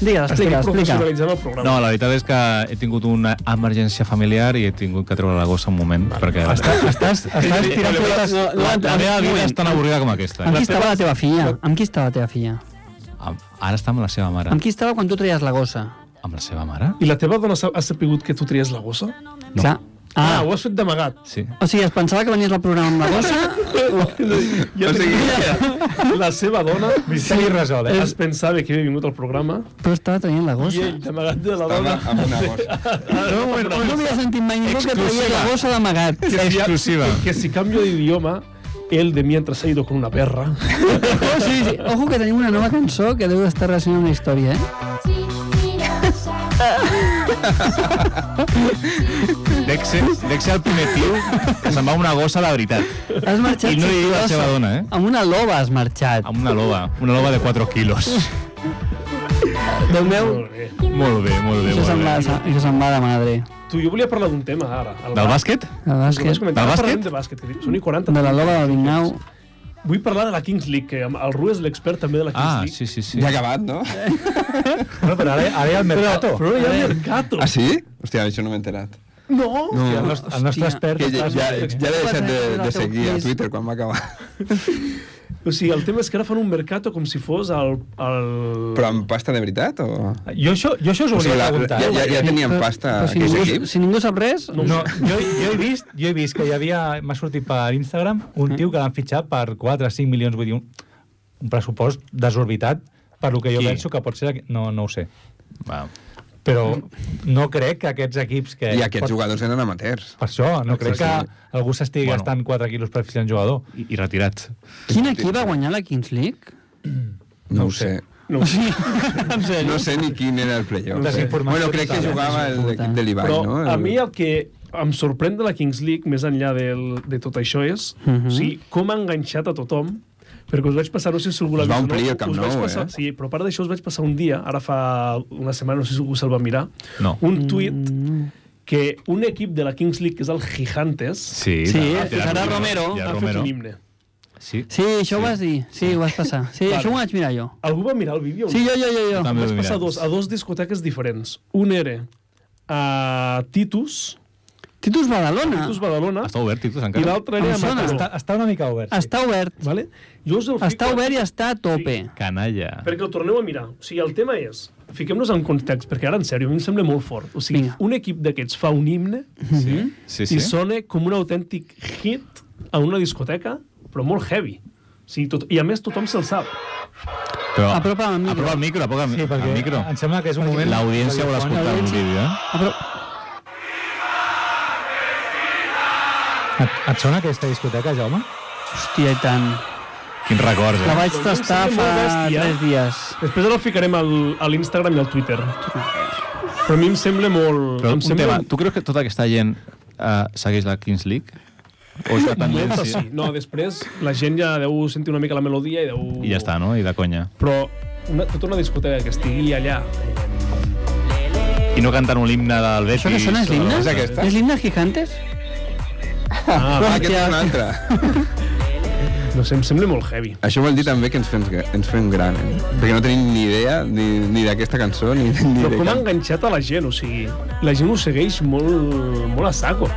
[SPEAKER 3] Digues,
[SPEAKER 1] Estem
[SPEAKER 3] explica, explica.
[SPEAKER 1] professionalitzant el programa.
[SPEAKER 7] No, la veritat és que he tingut una emergència familiar i he tingut que treure la gossa un moment, perquè
[SPEAKER 2] Està, estàs, estàs tirant
[SPEAKER 3] No,
[SPEAKER 2] pilotes...
[SPEAKER 3] no,
[SPEAKER 7] la, la meva vida
[SPEAKER 3] moment.
[SPEAKER 7] és tan avorrida com aquesta.
[SPEAKER 3] Amb qui
[SPEAKER 7] Eh?
[SPEAKER 3] estava la teva filla? Amb qui estava la teva filla?
[SPEAKER 7] Ara està amb la seva mare.
[SPEAKER 3] Amb qui estava quan tu traies la gossa?
[SPEAKER 7] Amb la seva mare?
[SPEAKER 1] I la teva dona sa- ha sapigut que tu tries la gossa?
[SPEAKER 7] No.
[SPEAKER 3] Clar.
[SPEAKER 1] Ah,
[SPEAKER 3] Ah,
[SPEAKER 1] ho has fet d'amagat. (laughs)
[SPEAKER 7] Sí.
[SPEAKER 3] o sigui, es pensava que venies al programa amb la
[SPEAKER 7] (laughs)
[SPEAKER 3] gossa?
[SPEAKER 4] O sigui,
[SPEAKER 1] (laughs) La seva dona
[SPEAKER 2] Misteri resolt, eh?
[SPEAKER 1] es pensava que havia vingut al programa
[SPEAKER 3] Però estava traient la
[SPEAKER 1] i
[SPEAKER 3] gossa.
[SPEAKER 1] ell, d'amagat de la
[SPEAKER 4] amb,
[SPEAKER 1] dona,
[SPEAKER 4] amb
[SPEAKER 1] (laughs)
[SPEAKER 4] una bossa.
[SPEAKER 3] No, no, no havia sentit mai ningú que traia la gossa
[SPEAKER 7] (laughs)
[SPEAKER 3] d'amagat.
[SPEAKER 7] Exclusiva.
[SPEAKER 1] que si cambio de idioma, él de mientras ha ido con una perra.
[SPEAKER 3] Oh, sí, sí. Ojo que tenim una nova cançó que deu estar relacionada amb una història, eh?
[SPEAKER 7] Dexe, Dexe el primer tio que se'n va amb una gossa de veritat.
[SPEAKER 3] Has marxat
[SPEAKER 7] I no li diu la seva dona, eh?
[SPEAKER 3] Amb una loba has marxat.
[SPEAKER 7] Amb una loba. Una loba de 4 quilos.
[SPEAKER 3] Déu meu,
[SPEAKER 7] Molt bé, molt bé,
[SPEAKER 3] això
[SPEAKER 7] molt
[SPEAKER 3] se'n va,
[SPEAKER 7] bé.
[SPEAKER 3] això se'n va de madre.
[SPEAKER 1] Tu, jo volia parlar d'un tema, ara. El
[SPEAKER 7] Del bàsquet?
[SPEAKER 3] La
[SPEAKER 1] bàsquet. Només
[SPEAKER 3] bàsquet,
[SPEAKER 1] comentar,
[SPEAKER 7] Del
[SPEAKER 1] parlarem
[SPEAKER 7] bàsquet?
[SPEAKER 1] De bàsquet, que són i 40.
[SPEAKER 3] de la loba del Vignau.
[SPEAKER 1] Vull parlar de la Kings League, que el Ru és l'expert també de la Kings
[SPEAKER 7] Ah,
[SPEAKER 1] League.
[SPEAKER 7] sí, sí, sí.
[SPEAKER 4] Ja ha acabat, no?
[SPEAKER 2] Bueno, però ara, ara hi ha el mercato.
[SPEAKER 1] Però hi ha Mercato.
[SPEAKER 4] Ah, sí? Hòstia, això no m'he enterat.
[SPEAKER 1] No!
[SPEAKER 4] No,
[SPEAKER 2] El nostre, el nostre expert...
[SPEAKER 4] que ja, ja,
[SPEAKER 2] està-
[SPEAKER 4] ja l'he deixat de,
[SPEAKER 3] Passa
[SPEAKER 4] de
[SPEAKER 3] el teu
[SPEAKER 4] seguir a
[SPEAKER 3] quiz.
[SPEAKER 4] Twitter quan va acabar.
[SPEAKER 1] O sigui, el tema és que ara fan un Mercato com si fos el... el...
[SPEAKER 4] Però amb pasta de veritat o...?
[SPEAKER 2] Jo això, jo això us ho
[SPEAKER 4] O sigui,
[SPEAKER 2] volia
[SPEAKER 4] la,
[SPEAKER 2] preguntar.
[SPEAKER 4] ja, ja, ja teníem
[SPEAKER 3] Però-
[SPEAKER 4] pasta
[SPEAKER 3] però si
[SPEAKER 4] aquells
[SPEAKER 3] ningú,
[SPEAKER 4] equips.
[SPEAKER 3] si ningú sap res, no.
[SPEAKER 2] No, jo, jo, he vist, jo he vist que hi havia... M'ha sortit per Instagram
[SPEAKER 7] Mm.
[SPEAKER 2] un tio que l'han fitxat per 4 o 5 milions, vull dir, un, un pressupost desorbitat per lo que jo
[SPEAKER 7] Qui?
[SPEAKER 2] penso que pot ser... aqu- No, no ho sé.
[SPEAKER 7] Va.
[SPEAKER 2] Però no crec que aquests equips que...
[SPEAKER 4] I aquests
[SPEAKER 2] eh, pot-
[SPEAKER 4] jugadors eren amateurs.
[SPEAKER 2] Per això, no crec que
[SPEAKER 4] Exacte.
[SPEAKER 2] algú s'estigui
[SPEAKER 7] Bueno.
[SPEAKER 2] bueno. gastant 4 quilos per fitxar un jugador.
[SPEAKER 7] I, i retirat.
[SPEAKER 3] quin equip va guanyar la Kings League?
[SPEAKER 4] No ho sé.
[SPEAKER 1] No ho sé.
[SPEAKER 4] No sé ni quin era el playoff.
[SPEAKER 2] No sé.
[SPEAKER 4] Bueno, crec que jugava el- l'equip de l'Ibai,
[SPEAKER 1] Però
[SPEAKER 4] no?
[SPEAKER 1] a mi el que em sorprèn de la Kings League, més enllà del, de tot això, és uh
[SPEAKER 3] Mhm.
[SPEAKER 1] -huh. o sigui, com ha enganxat a tothom, perquè us vaig passar, no sé si algú l'ha
[SPEAKER 4] Es
[SPEAKER 1] vist
[SPEAKER 4] va
[SPEAKER 1] o
[SPEAKER 4] omplir
[SPEAKER 1] no,
[SPEAKER 4] el Camp
[SPEAKER 1] us vaig
[SPEAKER 4] Nou,
[SPEAKER 1] passar,
[SPEAKER 4] eh?
[SPEAKER 1] sí, però a part d'això us vaig passar un dia, ara fa una setmana, no sé si algú se'l va mirar,
[SPEAKER 7] No.
[SPEAKER 1] un tuit que un equip de la Kings League, que és el Gigantes,
[SPEAKER 7] Sí,
[SPEAKER 3] Sí,
[SPEAKER 7] va, tirar
[SPEAKER 3] serà Romero.
[SPEAKER 7] Ja,
[SPEAKER 1] ha fet
[SPEAKER 7] Romero.
[SPEAKER 1] un himne.
[SPEAKER 7] Sí.
[SPEAKER 3] Sí, això ho vas dir. Sí, ho vas passar. Sí,
[SPEAKER 1] Vale.
[SPEAKER 3] això ho vaig mirar jo.
[SPEAKER 1] Algú va mirar el vídeo? o
[SPEAKER 3] Sí,
[SPEAKER 1] no?
[SPEAKER 3] jo, jo, jo, jo.
[SPEAKER 7] També
[SPEAKER 1] Vas
[SPEAKER 7] ho he
[SPEAKER 1] passar
[SPEAKER 7] mirat.
[SPEAKER 1] dos, a dos discoteques diferents. Un era a Titus,
[SPEAKER 3] Titus Badalona.
[SPEAKER 1] Titus Badalona,
[SPEAKER 7] Està obert, Titus,
[SPEAKER 1] i
[SPEAKER 7] Ah. encara?
[SPEAKER 1] l'altre era a
[SPEAKER 3] Em sona,
[SPEAKER 1] Mataró.
[SPEAKER 2] Està, està una mica obert. Sí.
[SPEAKER 3] Està obert.
[SPEAKER 1] Vale? Jo us el
[SPEAKER 3] Està
[SPEAKER 1] fico-
[SPEAKER 3] obert i està a tope.
[SPEAKER 7] Canalla.
[SPEAKER 1] Perquè ho torneu a mirar. O sigui, el tema és... Fiquem-nos en context, perquè ara, en sèrio, a mi em sembla molt fort. O sigui,
[SPEAKER 3] Vinga.
[SPEAKER 1] un equip d'aquests fa un himne
[SPEAKER 7] Sí, sí,
[SPEAKER 1] sí?
[SPEAKER 7] sí.
[SPEAKER 1] i sona com un autèntic hit a una discoteca, però molt heavy. O sigui, tot... I a més tothom se'l sap.
[SPEAKER 7] Però...
[SPEAKER 3] Apropa el micro.
[SPEAKER 7] Apropa el micro, apropa el, mi-
[SPEAKER 2] Sí, perquè
[SPEAKER 7] el micro.
[SPEAKER 2] em sembla que és un moment...
[SPEAKER 7] Ah, L'audiència vol escoltar un
[SPEAKER 3] L'audiència-
[SPEAKER 7] vídeo, eh?
[SPEAKER 3] Ah, però...
[SPEAKER 2] Et, et sona aquesta discoteca, Jaume?
[SPEAKER 3] Hòstia, i tant.
[SPEAKER 7] Quins records,
[SPEAKER 3] La
[SPEAKER 7] eh?
[SPEAKER 3] vaig tastar
[SPEAKER 1] sembla
[SPEAKER 3] fa
[SPEAKER 1] molt bèstia.
[SPEAKER 3] tres dies.
[SPEAKER 1] Després ara el ficarem al, a l'Instagram i al Twitter. Però a mi em sembla molt...
[SPEAKER 7] Però
[SPEAKER 1] em
[SPEAKER 7] un
[SPEAKER 1] sembla...
[SPEAKER 7] tema, tu creus que tota aquesta gent eh, segueix la Kings League? O és de
[SPEAKER 1] Molta,
[SPEAKER 7] tendència?
[SPEAKER 1] sí. No, després la gent ja deu sentir una mica la melodia i deu...
[SPEAKER 7] I ja està, no? I de conya.
[SPEAKER 1] Però una, tota una discoteca que estigui allà...
[SPEAKER 7] I no cantant un himne del Betis.
[SPEAKER 3] Això que sona és
[SPEAKER 7] o de
[SPEAKER 3] l'himne?
[SPEAKER 7] la-
[SPEAKER 4] És aquesta?
[SPEAKER 3] És l'himne Gigantes?
[SPEAKER 1] Ah,
[SPEAKER 4] Ah, aquest és un altre.
[SPEAKER 1] no sé, em sembla molt heavy.
[SPEAKER 4] Això vol dir també que ens fem, ens fem gran, eh? Perquè no tenim ni idea ni, ni d'aquesta cançó ni, ni
[SPEAKER 1] Però
[SPEAKER 4] de
[SPEAKER 1] com ha
[SPEAKER 4] cap.
[SPEAKER 1] enganxat a la gent, o sigui, la gent ho segueix molt, molt a saco.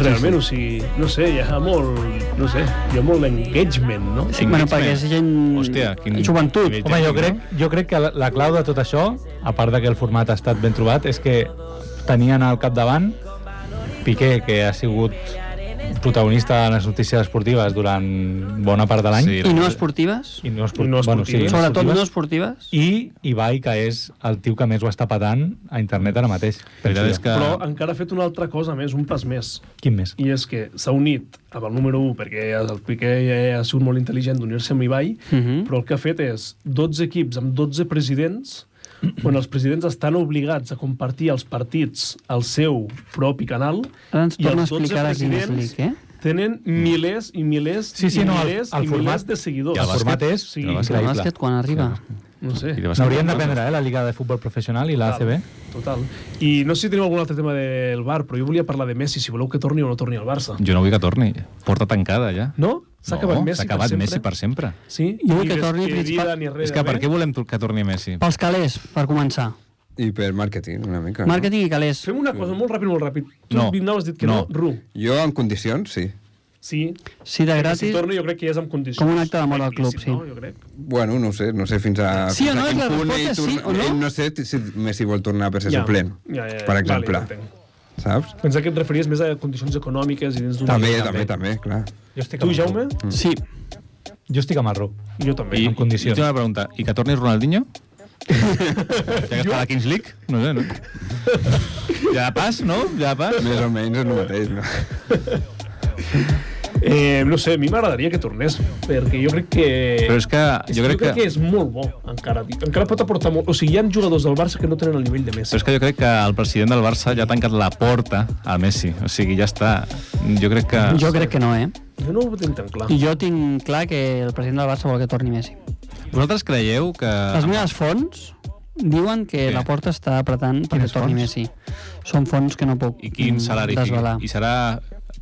[SPEAKER 1] Realment, o sigui, no sé, hi ha molt, no sé, hi ha molt engagement, no?
[SPEAKER 7] Sí.
[SPEAKER 3] Bueno,
[SPEAKER 7] Engagement.
[SPEAKER 3] perquè és gent...
[SPEAKER 7] Hòstia, quin-
[SPEAKER 3] Joventut.
[SPEAKER 7] nivell
[SPEAKER 2] Home, jo
[SPEAKER 7] tècnic,
[SPEAKER 2] crec, jo crec que la, la clau de tot això, a part de que el format ha estat ben trobat, és que tenien al capdavant Piqué, que ha sigut protagonista en les notícies esportives durant bona part de l'any.
[SPEAKER 7] Sí,
[SPEAKER 3] I no esportives?
[SPEAKER 2] I no, esport...
[SPEAKER 1] I no esportives.
[SPEAKER 3] Sobretot no
[SPEAKER 2] esportives.
[SPEAKER 3] esportives?
[SPEAKER 2] I Ibai, que és el tio que més ho està patant a internet ara mateix.
[SPEAKER 7] La veritat és que...
[SPEAKER 1] Però encara ha fet una altra cosa més, un pas més.
[SPEAKER 2] Quin més?
[SPEAKER 1] I és que s'ha unit amb el número 1, perquè el Piqué ja ha sigut molt intel·ligent d'unir-se amb Ibai,
[SPEAKER 3] Mhm.
[SPEAKER 1] però el que ha fet és 12 equips amb 12
[SPEAKER 3] (clears throat)
[SPEAKER 1] presidents, on els presidents estan obligats a compartir els partits al seu propi canal,
[SPEAKER 3] Ara ens
[SPEAKER 1] i
[SPEAKER 3] torna a
[SPEAKER 1] els 12
[SPEAKER 3] explicar la Kings
[SPEAKER 1] presidents
[SPEAKER 3] League, eh?
[SPEAKER 1] tenen milers i milers
[SPEAKER 2] Sí, sí,
[SPEAKER 1] i
[SPEAKER 2] no, el-
[SPEAKER 1] milers
[SPEAKER 2] el
[SPEAKER 1] i
[SPEAKER 2] format-
[SPEAKER 1] milers de seguidors.
[SPEAKER 7] I
[SPEAKER 2] El
[SPEAKER 7] bàsquet.
[SPEAKER 2] format és
[SPEAKER 1] Sí.
[SPEAKER 3] El
[SPEAKER 2] increïble.
[SPEAKER 3] bàsquet, quan arriba...
[SPEAKER 1] No sé.
[SPEAKER 7] I de bastant-
[SPEAKER 2] N'hauríem d'aprendre, eh, la Lliga de Futbol Professional i l'ACB.
[SPEAKER 1] Total. I no sé si teniu algun altre tema del Bar, però jo volia parlar de Messi, si voleu que torni o no torni al Barça.
[SPEAKER 7] Jo no vull que torni. Porta tancada, ja.
[SPEAKER 1] No? S'ha
[SPEAKER 7] No,
[SPEAKER 1] acabat Messi
[SPEAKER 7] S'ha acabat
[SPEAKER 1] per sempre?
[SPEAKER 7] Messi per sempre.
[SPEAKER 1] Sí?
[SPEAKER 3] Jo vull
[SPEAKER 1] Ni
[SPEAKER 3] que torni
[SPEAKER 1] despedida
[SPEAKER 3] principal-
[SPEAKER 1] ni res
[SPEAKER 7] és que
[SPEAKER 1] de
[SPEAKER 7] per
[SPEAKER 1] res.
[SPEAKER 7] què volem tu- que torni Messi?
[SPEAKER 3] Pels calés, per començar.
[SPEAKER 4] I per màrqueting, una mica. no?
[SPEAKER 3] Màrqueting i calés.
[SPEAKER 1] Fem una cosa molt ràpid, molt ràpid. Tu
[SPEAKER 7] No.
[SPEAKER 1] no. has dit que no.
[SPEAKER 7] No.
[SPEAKER 1] no. Ru.
[SPEAKER 4] Jo, en condicions, sí.
[SPEAKER 1] Sí.
[SPEAKER 3] Sí, de
[SPEAKER 1] Si
[SPEAKER 3] gratis...
[SPEAKER 1] torno jo crec que ja és amb condicions.
[SPEAKER 3] Com un acte d'amor al club,
[SPEAKER 1] Implícit,
[SPEAKER 3] sí.
[SPEAKER 1] No? Jo crec.
[SPEAKER 4] Bueno, no ho sé, no sé fins a...
[SPEAKER 3] Sí o
[SPEAKER 4] fins a
[SPEAKER 3] no,
[SPEAKER 4] quin
[SPEAKER 3] és la
[SPEAKER 4] punt
[SPEAKER 3] resposta,
[SPEAKER 4] ell
[SPEAKER 3] sí o no?
[SPEAKER 4] ell no sé t- si Messi vol tornar per ser
[SPEAKER 1] Ja.
[SPEAKER 4] suplent,
[SPEAKER 1] Ja, ja, ja.
[SPEAKER 4] per exemple.
[SPEAKER 1] Vale, ja entenc.
[SPEAKER 4] Saps?
[SPEAKER 1] Pensava que et referies més a condicions econòmiques i dins d'una...
[SPEAKER 4] També, també, també, clar.
[SPEAKER 2] Jo estic
[SPEAKER 1] Tu, Jaume?
[SPEAKER 3] Sí.
[SPEAKER 2] Jo estic amb el Ru.
[SPEAKER 1] I jo també.
[SPEAKER 7] I,
[SPEAKER 2] amb condicions.
[SPEAKER 7] I una pregunta. I que torni (laughs) Ronaldinho? ja que està a la Kings League? No sé, no? Ja de pas, no? Ja de pas?
[SPEAKER 4] Més o menys és el mateix, no?
[SPEAKER 1] Eh, no sé, a mi m'agradaria que tornés, perquè jo crec que...
[SPEAKER 7] Però és que
[SPEAKER 1] És
[SPEAKER 7] jo crec que...
[SPEAKER 1] que és molt bo, encara. Encara pot aportar molt. O sigui, hi ha jugadors del Barça que no tenen el nivell de Messi.
[SPEAKER 7] Però és que jo crec que el president del Barça ja ha tancat la porta a Messi. O sigui, ja està. Jo crec que...
[SPEAKER 3] Jo crec que no, eh?
[SPEAKER 1] Jo no ho tinc tan
[SPEAKER 7] Ah.
[SPEAKER 1] clar.
[SPEAKER 3] I jo tinc clar que el president del Barça vol que torni Messi.
[SPEAKER 7] Vosaltres creieu que...
[SPEAKER 3] Les meves fonts diuen que
[SPEAKER 7] Què?
[SPEAKER 3] la porta està apretant perquè
[SPEAKER 7] Quines
[SPEAKER 3] torni
[SPEAKER 7] fonts?
[SPEAKER 3] Messi. Són fonts que no puc
[SPEAKER 7] I quin
[SPEAKER 3] mm,
[SPEAKER 7] salari?
[SPEAKER 3] desvelar.
[SPEAKER 7] I serà...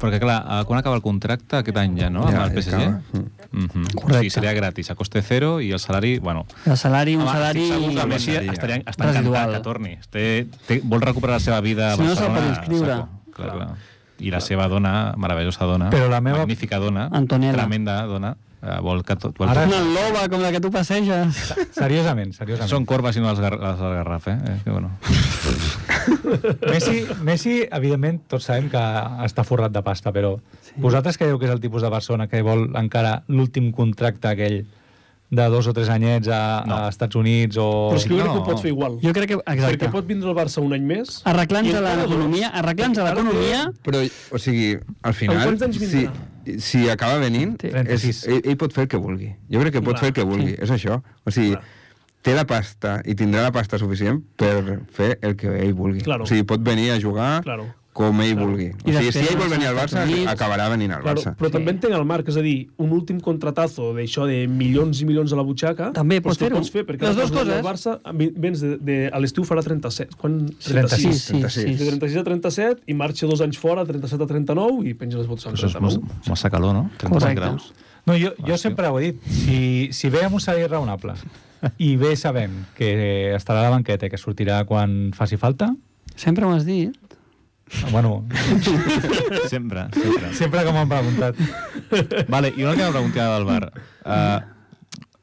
[SPEAKER 7] Perquè, clar, eh, quan acaba el contracte? Aquest any ja, no?
[SPEAKER 4] Ja, ja
[SPEAKER 7] Amb el PSG?
[SPEAKER 4] acaba.
[SPEAKER 7] Mm -hmm.
[SPEAKER 3] Correcte.
[SPEAKER 7] O sigui, seria gratis, a coste cero, i el salari, bueno...
[SPEAKER 3] El salari, un
[SPEAKER 7] Home,
[SPEAKER 3] salari...
[SPEAKER 7] estic Segur que Messi
[SPEAKER 4] Residual.
[SPEAKER 7] estaria, està encantat
[SPEAKER 3] Residual.
[SPEAKER 7] que torni. Té, té, vol recuperar la seva vida a
[SPEAKER 3] Si no, se'l
[SPEAKER 7] Barcelona.
[SPEAKER 3] pot inscriure.
[SPEAKER 7] a saco. Clar, clar. I la seva dona, meravellosa dona,
[SPEAKER 2] Però la meva-
[SPEAKER 7] magnífica dona,
[SPEAKER 3] Antonella.
[SPEAKER 7] tremenda dona, eh, vol que tot... Vol
[SPEAKER 2] Ara-
[SPEAKER 7] tot.
[SPEAKER 3] Una loba com la que tu passeges.
[SPEAKER 2] Seriosament, seriosament.
[SPEAKER 7] Són corbes i no les, gar les del Garraf, eh? eh? Que bueno.
[SPEAKER 2] Messi, Messi, evidentment, tots sabem que està forrat de pasta, però sí. vosaltres creieu que és el tipus de persona que vol encara l'últim contracte aquell de dos o tres anyets a, no.
[SPEAKER 7] No.
[SPEAKER 2] a Estats Units o...
[SPEAKER 1] Però és que jo crec
[SPEAKER 7] No.
[SPEAKER 1] que ho pot fer igual.
[SPEAKER 3] Jo crec que... Exacte.
[SPEAKER 1] Perquè pot vindre el Barça un any més... I
[SPEAKER 3] Arreglant-se
[SPEAKER 1] encara dos.
[SPEAKER 3] l'economia, arreglant-se l'economia,
[SPEAKER 4] Però, o sigui, al
[SPEAKER 1] Amb
[SPEAKER 4] final,
[SPEAKER 1] quants anys
[SPEAKER 4] si,
[SPEAKER 1] vindrà?
[SPEAKER 4] si acaba venint,
[SPEAKER 3] Té.
[SPEAKER 4] és,
[SPEAKER 2] 36.
[SPEAKER 4] ell, ell pot fer el que vulgui. Jo crec que pot
[SPEAKER 1] Clar.
[SPEAKER 4] fer el que vulgui, és això. O sigui, té la pasta i tindrà la pasta suficient per fer el que ell vulgui.
[SPEAKER 1] Claro.
[SPEAKER 4] O sigui, pot venir a jugar
[SPEAKER 1] Claro.
[SPEAKER 4] com ell vulgui. O
[SPEAKER 3] I
[SPEAKER 4] sigui,
[SPEAKER 3] després
[SPEAKER 4] si ell vol venir al
[SPEAKER 3] als
[SPEAKER 4] Barça,
[SPEAKER 3] Estats Units.
[SPEAKER 4] acabarà venint al
[SPEAKER 1] Claro,
[SPEAKER 4] Barça.
[SPEAKER 1] però també entenc el Marc, és a dir, un últim contratazo d'això de milions i milions a la butxaca...
[SPEAKER 3] També
[SPEAKER 1] doncs
[SPEAKER 3] pots
[SPEAKER 1] que
[SPEAKER 3] fer-ho.
[SPEAKER 1] pots fer, perquè
[SPEAKER 3] Les
[SPEAKER 1] la
[SPEAKER 3] dues
[SPEAKER 1] temporada
[SPEAKER 3] coses.
[SPEAKER 1] del Barça, vi- vens de, de, a l'estiu farà 37, quan?
[SPEAKER 3] 36,
[SPEAKER 1] 36.
[SPEAKER 3] sí, sí,
[SPEAKER 1] De
[SPEAKER 3] sí.
[SPEAKER 1] 36 a 37, i marxa dos anys fora, 37 a 39, i penja les botes amb
[SPEAKER 7] Això és
[SPEAKER 1] 39.
[SPEAKER 7] mos- massa calor, no? 37
[SPEAKER 3] Correcte. (laughs)
[SPEAKER 7] graus.
[SPEAKER 2] No, jo, jo sempre ho he dit. Si, si ve amb un salari raonable i bé sabem que estarà a la banqueta i que sortirà quan faci falta,
[SPEAKER 3] sempre m'ho has dit,
[SPEAKER 2] bueno,
[SPEAKER 7] Sempre, sempre.
[SPEAKER 2] sempre que m'ho han preguntat.
[SPEAKER 7] Vale, i una que em preguntava del bar. Uh,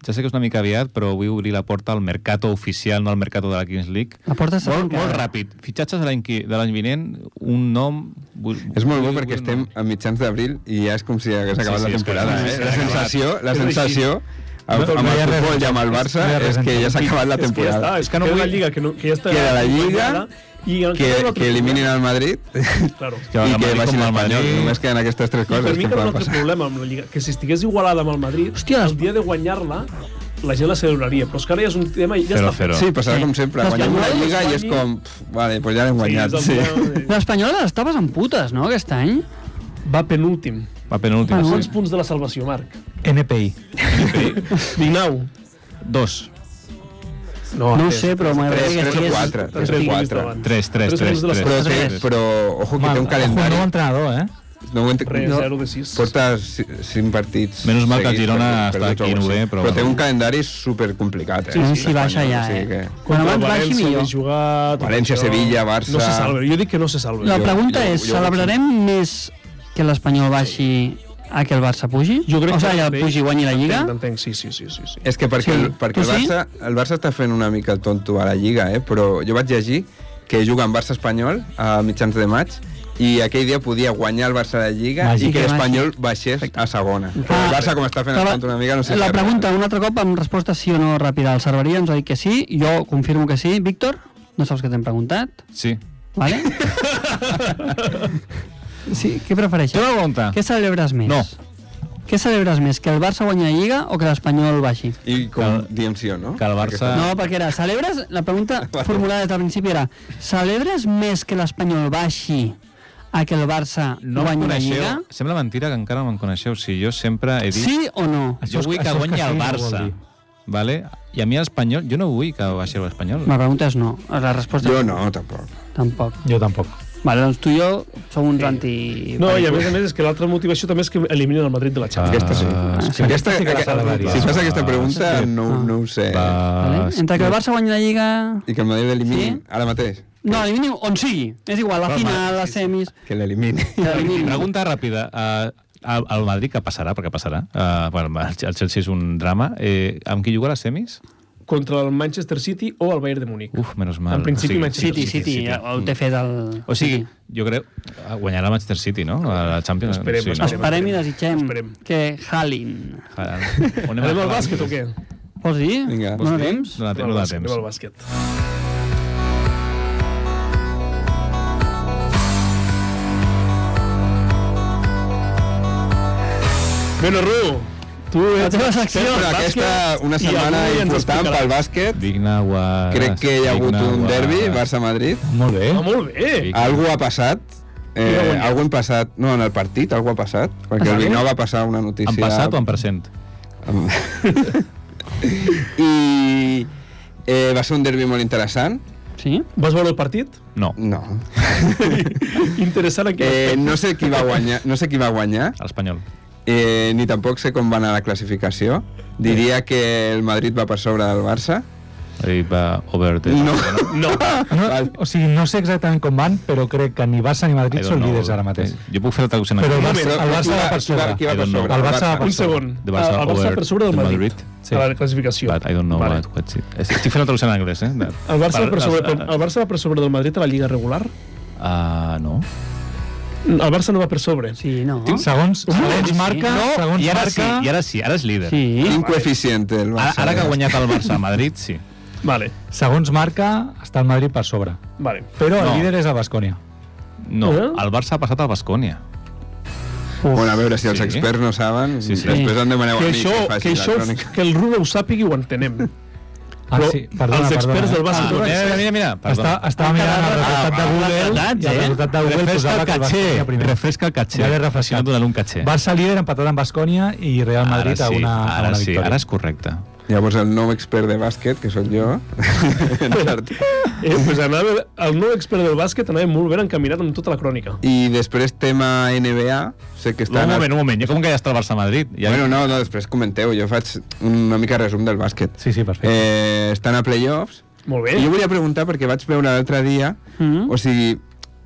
[SPEAKER 7] ja sé que és una mica aviat, però vull obrir la porta al mercato oficial, no al mercato de la Kings League.
[SPEAKER 3] la porta està
[SPEAKER 7] Molt, molt
[SPEAKER 3] tancada.
[SPEAKER 7] ràpid. Fitxatges de l'any qui- de l'any vinent, un nom... Vull,
[SPEAKER 4] És molt bo
[SPEAKER 7] vull-
[SPEAKER 4] perquè
[SPEAKER 7] vull un
[SPEAKER 4] estem
[SPEAKER 7] nom.
[SPEAKER 4] a mitjans d'abril i ja és com si hagués
[SPEAKER 7] Sí,
[SPEAKER 4] acabat
[SPEAKER 7] sí,
[SPEAKER 4] la
[SPEAKER 7] és que
[SPEAKER 4] temporada.
[SPEAKER 7] sí,
[SPEAKER 4] eh?
[SPEAKER 7] sí,
[SPEAKER 4] La
[SPEAKER 7] sí,
[SPEAKER 4] sensació, la sensació
[SPEAKER 2] No,
[SPEAKER 4] amb,
[SPEAKER 2] no
[SPEAKER 4] amb
[SPEAKER 2] hi
[SPEAKER 4] el
[SPEAKER 2] ha res.
[SPEAKER 4] futbol i amb el Barça
[SPEAKER 2] No hi ha res
[SPEAKER 4] és que
[SPEAKER 7] (laughs)
[SPEAKER 4] ja s'ha acabat la
[SPEAKER 1] És que ja està,
[SPEAKER 4] temporada.
[SPEAKER 1] és que no
[SPEAKER 7] Que
[SPEAKER 1] vull...
[SPEAKER 7] la
[SPEAKER 1] la Lliga, que, no, que ja està...
[SPEAKER 4] Queda la Lliga,
[SPEAKER 1] i encara
[SPEAKER 4] Que,
[SPEAKER 1] no ha
[SPEAKER 4] que
[SPEAKER 1] trobat.
[SPEAKER 4] eliminin el Madrid
[SPEAKER 1] Claro.
[SPEAKER 7] Que el
[SPEAKER 4] i que
[SPEAKER 7] Madrid
[SPEAKER 4] baixin
[SPEAKER 7] com el
[SPEAKER 4] el Espanyol.
[SPEAKER 7] Madrid.
[SPEAKER 4] Només queden aquestes tres
[SPEAKER 1] I per
[SPEAKER 4] coses
[SPEAKER 1] mi
[SPEAKER 4] que
[SPEAKER 1] que era un
[SPEAKER 4] poden
[SPEAKER 1] altre
[SPEAKER 4] passar.
[SPEAKER 1] problema amb la Lliga, que si estigués igualada amb el Madrid,
[SPEAKER 3] Hòstia, les-
[SPEAKER 1] el dia de guanyar-la, la gent la celebraria. Però és que ara ja és un tema i ja
[SPEAKER 7] Zero,
[SPEAKER 1] està.
[SPEAKER 7] zero.
[SPEAKER 4] Sí, passarà com sempre.
[SPEAKER 3] L'Espanyol
[SPEAKER 4] Guanyem una Lliga i és
[SPEAKER 1] guanyi.
[SPEAKER 4] com... pf, Vale, pues ja l'hem guanyat.
[SPEAKER 1] és
[SPEAKER 4] Sí.
[SPEAKER 1] el tema
[SPEAKER 3] L'Espanyol de les tapes amb putes, no, aquest any?
[SPEAKER 1] de- Va penúltim.
[SPEAKER 7] Va penúltim.
[SPEAKER 3] Ah, no.
[SPEAKER 7] Ah,
[SPEAKER 1] Quants punts de la salvació, Marc?
[SPEAKER 2] NPI.
[SPEAKER 1] 19.
[SPEAKER 7] Dos.
[SPEAKER 3] No ho sé, però
[SPEAKER 4] Tres,
[SPEAKER 3] m'agradaria que
[SPEAKER 4] tres o
[SPEAKER 3] estigués...
[SPEAKER 4] quatre. Tres o
[SPEAKER 1] punts
[SPEAKER 4] quatre.
[SPEAKER 1] davant.
[SPEAKER 7] Tres, tres,
[SPEAKER 1] Tres punts
[SPEAKER 7] tres.
[SPEAKER 1] de les
[SPEAKER 7] tres,
[SPEAKER 4] Però, té,
[SPEAKER 7] tres.
[SPEAKER 4] però ojo que té
[SPEAKER 2] Ojo,
[SPEAKER 4] un
[SPEAKER 2] nou
[SPEAKER 4] calendari...
[SPEAKER 2] entrenador, eh?
[SPEAKER 4] No ho entenc-
[SPEAKER 1] Res,
[SPEAKER 4] no.
[SPEAKER 1] 0 de 6.
[SPEAKER 4] Porta ci- cinc partits...
[SPEAKER 7] Menys mal que el
[SPEAKER 4] seguits perduts,
[SPEAKER 7] Girona està
[SPEAKER 4] perduts o alguna
[SPEAKER 7] aquí
[SPEAKER 4] cosa
[SPEAKER 7] novè,
[SPEAKER 4] així.
[SPEAKER 7] però
[SPEAKER 4] Però té
[SPEAKER 7] bueno.
[SPEAKER 4] un calendari super complicat, eh?
[SPEAKER 3] Sí, sí, baixa
[SPEAKER 4] l'Espanyol,
[SPEAKER 3] ja,
[SPEAKER 4] o sigui
[SPEAKER 3] eh?
[SPEAKER 4] que-
[SPEAKER 3] Quan abans baixi, millor.
[SPEAKER 1] Jugar, tot
[SPEAKER 4] València,
[SPEAKER 1] això.
[SPEAKER 4] Sevilla, Barça.
[SPEAKER 1] No se salva. Jo dic que no se salva.
[SPEAKER 3] La
[SPEAKER 4] Jo-
[SPEAKER 3] pregunta
[SPEAKER 4] jo-
[SPEAKER 3] és,
[SPEAKER 4] jo-
[SPEAKER 3] celebrarem més que l'Espanyol baixi a que el Barça pugi? o sigui, el Pugi guanyi la Lliga?
[SPEAKER 1] Entenc, entenc, sí, sí, sí. sí, sí.
[SPEAKER 4] És que perquè,
[SPEAKER 3] Sí.
[SPEAKER 4] sí. perquè
[SPEAKER 3] Tu
[SPEAKER 4] el,
[SPEAKER 3] sí?
[SPEAKER 4] Barça, el Barça està fent una mica el tonto a la Lliga, eh? però jo vaig llegir que juga amb Barça-Espanyol a mitjans de maig i aquell dia podia guanyar el Barça de Lliga
[SPEAKER 2] Màgic.
[SPEAKER 4] i que
[SPEAKER 3] Màgic.
[SPEAKER 4] l'Espanyol baixés a segona. Però el Barça, com està fent
[SPEAKER 3] Però
[SPEAKER 4] el
[SPEAKER 3] la-
[SPEAKER 4] tonto una mica, no sé si...
[SPEAKER 3] La
[SPEAKER 4] és
[SPEAKER 3] pregunta, un altre cop, amb resposta sí o no ràpida. El Cerveria ens ha dit que sí, jo confirmo que sí. Víctor, no saps què t'hem preguntat,
[SPEAKER 7] Sí.
[SPEAKER 4] (laughs)
[SPEAKER 3] vale? sí, què prefereixes?
[SPEAKER 7] Té una pregunta.
[SPEAKER 3] Què celebres més?
[SPEAKER 7] No.
[SPEAKER 3] Què celebres més, que el Barça guanyi la Lliga o que l'Espanyol baixi?
[SPEAKER 4] real. I com diem sí o no?
[SPEAKER 7] Que el Barça...
[SPEAKER 3] No, perquè era, celebres... La pregunta formulada des del principi era, celebres més que l'Espanyol baixi a que el Barça
[SPEAKER 7] No
[SPEAKER 3] no
[SPEAKER 7] em
[SPEAKER 3] guanyi la
[SPEAKER 7] coneixeu.
[SPEAKER 3] Lliga?
[SPEAKER 7] Sembla mentira que encara no em coneixeu. Si jo sempre he dit...
[SPEAKER 3] Sí o no?
[SPEAKER 7] Jo
[SPEAKER 2] Això és-
[SPEAKER 7] vull que
[SPEAKER 2] això és
[SPEAKER 7] guanyi
[SPEAKER 2] que sí,
[SPEAKER 7] el
[SPEAKER 2] no vol
[SPEAKER 7] Barça.
[SPEAKER 2] dir.
[SPEAKER 7] Vale? I a mi l'Espanyol... Jo no vull que baixi l'Espanyol.
[SPEAKER 3] La pregunta és no. La resposta
[SPEAKER 4] Jo
[SPEAKER 3] és
[SPEAKER 4] no, tampoc.
[SPEAKER 3] Tampoc.
[SPEAKER 2] Jo tampoc.
[SPEAKER 3] Vale, doncs tu i jo som uns anti...
[SPEAKER 1] No, i a més a més és que l'altra motivació també és que eliminen el Madrid de la Champions.
[SPEAKER 4] Ah. Aquesta sí.
[SPEAKER 7] Ah,
[SPEAKER 3] sí.
[SPEAKER 4] Aquesta,
[SPEAKER 2] sí que la
[SPEAKER 4] aqu-
[SPEAKER 2] salvaria.
[SPEAKER 4] si fas aquesta pregunta, no,
[SPEAKER 3] Ah.
[SPEAKER 4] no ho sé.
[SPEAKER 3] Vale? Entre que el Barça guanyi la Lliga...
[SPEAKER 4] I que el Madrid l'elimini
[SPEAKER 3] Sí?
[SPEAKER 4] ara mateix.
[SPEAKER 3] No, elimini on sigui. És igual, la
[SPEAKER 7] Però,
[SPEAKER 3] final, les semis...
[SPEAKER 4] Que l'elimini.
[SPEAKER 3] que l'eliminin.
[SPEAKER 7] Pregunta ràpida. Uh, al, al Madrid, que passarà? Perquè passarà. Uh, bueno, el el Chelsea és un drama. Eh, amb qui juga a les semis?
[SPEAKER 1] Contra el Manchester City o el Bayern de Múnich.
[SPEAKER 7] Uf, menys mal.
[SPEAKER 1] En principi,
[SPEAKER 7] o sigui,
[SPEAKER 1] Manchester
[SPEAKER 3] City, City, City, ja ho té fet el...
[SPEAKER 7] O sigui,
[SPEAKER 3] City.
[SPEAKER 7] jo crec... eh, Guanyarà el Manchester City, no? A la Champions.
[SPEAKER 1] Esperem,
[SPEAKER 7] sí, no? Eh,
[SPEAKER 1] esperem.
[SPEAKER 3] Esperem i desitgem
[SPEAKER 1] Esperem.
[SPEAKER 3] que Halin...
[SPEAKER 7] On
[SPEAKER 1] Anem al bàsquet o què?
[SPEAKER 3] Vols dir?
[SPEAKER 4] Vinga.
[SPEAKER 3] no
[SPEAKER 4] Vols dir?
[SPEAKER 3] temps?
[SPEAKER 7] No, no,
[SPEAKER 1] Anem al
[SPEAKER 7] no,
[SPEAKER 1] bàsquet,
[SPEAKER 7] temps.
[SPEAKER 1] Anem al bàsquet. Bueno, Ru, tu
[SPEAKER 3] La
[SPEAKER 1] ets
[SPEAKER 3] teva secció,
[SPEAKER 1] expert
[SPEAKER 4] Però
[SPEAKER 1] en bàsquet.
[SPEAKER 4] aquesta, una
[SPEAKER 1] i
[SPEAKER 4] setmana
[SPEAKER 1] avui ens
[SPEAKER 4] important
[SPEAKER 1] explicarà.
[SPEAKER 4] pel bàsquet.
[SPEAKER 7] Digna Guaras.
[SPEAKER 4] Crec que hi ha hagut un derbi, Barça-Madrid.
[SPEAKER 2] Molt bé.
[SPEAKER 1] Ah, molt bé.
[SPEAKER 7] Sí.
[SPEAKER 4] Algú ha passat.
[SPEAKER 1] Qui va
[SPEAKER 4] Eh,
[SPEAKER 1] guanyar?
[SPEAKER 4] algú hem passat, no, en el partit algú ha passat, perquè el Vinau va passar una notícia...
[SPEAKER 7] En passat o en present?
[SPEAKER 4] (laughs) I eh, va ser un derbi molt interessant.
[SPEAKER 3] Sí?
[SPEAKER 1] Vas veure el partit?
[SPEAKER 7] (laughs) No.
[SPEAKER 4] No.
[SPEAKER 1] (laughs) Interessant en què
[SPEAKER 4] Eh,
[SPEAKER 1] aspecte.
[SPEAKER 4] no sé qui va guanyar, no sé qui va guanyar,
[SPEAKER 7] L'Espanyol.
[SPEAKER 4] eh, ni tampoc sé com va anar la classificació. Diria que el Madrid va per sobre del Barça.
[SPEAKER 7] I va over the...
[SPEAKER 4] No.
[SPEAKER 1] No.
[SPEAKER 2] No,
[SPEAKER 4] Val.
[SPEAKER 2] o sigui, no sé exactament com van, però crec que ni Barça ni
[SPEAKER 7] I
[SPEAKER 2] Madrid
[SPEAKER 7] don't
[SPEAKER 2] són
[SPEAKER 7] know. Eh,
[SPEAKER 2] líders ara mateix.
[SPEAKER 7] Jo puc fer la traducció en
[SPEAKER 2] Però el
[SPEAKER 7] anglès.
[SPEAKER 2] Barça, el Barça va per sobre.
[SPEAKER 4] Qui va per
[SPEAKER 7] I don't know.
[SPEAKER 4] sobre?
[SPEAKER 2] El Barça va per
[SPEAKER 1] Un segon.
[SPEAKER 7] De Barça
[SPEAKER 1] el Barça
[SPEAKER 7] over
[SPEAKER 1] per sobre del
[SPEAKER 7] de
[SPEAKER 1] Madrid.
[SPEAKER 7] Madrid.
[SPEAKER 1] Sí. A la classificació.
[SPEAKER 7] But I don't know
[SPEAKER 1] Vale.
[SPEAKER 7] what, what's it. Estic fent la traducció en anglès, eh? De-
[SPEAKER 1] El Barça, va per sobre,
[SPEAKER 7] els-
[SPEAKER 1] el Barça va per sobre del Madrid a la Lliga regular?
[SPEAKER 7] Ah, no.
[SPEAKER 1] El Barça no va per sobre.
[SPEAKER 3] Sí, no?
[SPEAKER 2] Segons, segons
[SPEAKER 3] sí.
[SPEAKER 2] marca,
[SPEAKER 3] No,
[SPEAKER 2] segons
[SPEAKER 7] I ara sí,
[SPEAKER 2] marca...
[SPEAKER 7] i ara sí, ara és líder.
[SPEAKER 3] Sí.
[SPEAKER 4] Quin coeficient el
[SPEAKER 7] Ara,
[SPEAKER 4] Barça? eh?
[SPEAKER 7] ara que ha guanyat el Barça a Madrid, sí.
[SPEAKER 1] Vale,
[SPEAKER 2] Segons marca, està el Madrid per sobre.
[SPEAKER 1] vale.
[SPEAKER 2] Però el
[SPEAKER 7] No.
[SPEAKER 2] líder és el Bascònia.
[SPEAKER 7] No,
[SPEAKER 1] Eh?
[SPEAKER 7] el Barça ha passat al Bascònia.
[SPEAKER 4] Bueno, a veure, si els
[SPEAKER 7] Sí.
[SPEAKER 4] experts no saben,
[SPEAKER 7] Sí, sí.
[SPEAKER 4] després em demaneu a
[SPEAKER 1] Que
[SPEAKER 4] mi
[SPEAKER 1] això,
[SPEAKER 4] que faci
[SPEAKER 1] que,
[SPEAKER 4] la
[SPEAKER 1] això
[SPEAKER 4] crònica.
[SPEAKER 1] que el Runo ho sàpigui ho entenem.
[SPEAKER 2] Ah,
[SPEAKER 1] Però
[SPEAKER 2] sí, perdona,
[SPEAKER 1] els experts
[SPEAKER 2] perdona.
[SPEAKER 1] del Barça...
[SPEAKER 7] Ah, mira, mira, mira.
[SPEAKER 2] doncs
[SPEAKER 7] Ah,
[SPEAKER 2] Està,
[SPEAKER 7] Perdona.
[SPEAKER 2] estava mirant el resultat de Google i el resultat de Google
[SPEAKER 7] Refresca
[SPEAKER 2] posava
[SPEAKER 7] el
[SPEAKER 2] que el Bascònia
[SPEAKER 7] caché.
[SPEAKER 2] primer.
[SPEAKER 7] Refresca el caché.
[SPEAKER 2] Ja l'he refrescat.
[SPEAKER 7] Si no, donant un caché.
[SPEAKER 2] Barça líder empatat amb Bascònia i Real Madrid
[SPEAKER 7] ara
[SPEAKER 2] a una,
[SPEAKER 7] sí,
[SPEAKER 2] a
[SPEAKER 7] ara
[SPEAKER 2] una
[SPEAKER 7] sí,
[SPEAKER 2] victòria.
[SPEAKER 7] ara és correcte.
[SPEAKER 4] Llavors el nou expert de bàsquet, que sóc jo, (laughs)
[SPEAKER 1] Eh, pues anava, el nou expert del bàsquet anava molt ben encaminat amb tota la crònica.
[SPEAKER 4] i després tema NBA, sé que
[SPEAKER 7] No,
[SPEAKER 4] està...
[SPEAKER 7] un
[SPEAKER 4] en el-
[SPEAKER 7] moment, un moment. Jo com que ja està el Barça-Madrid. Ja...
[SPEAKER 4] Bueno, no, no, després comenteu, jo faig una mica resum del bàsquet.
[SPEAKER 2] Sí, sí, perfecte.
[SPEAKER 4] Eh, estan a playoffs,
[SPEAKER 1] Molt bé.
[SPEAKER 4] I jo volia preguntar perquè vaig veure l'altre dia,
[SPEAKER 3] Mhm.
[SPEAKER 4] o sigui,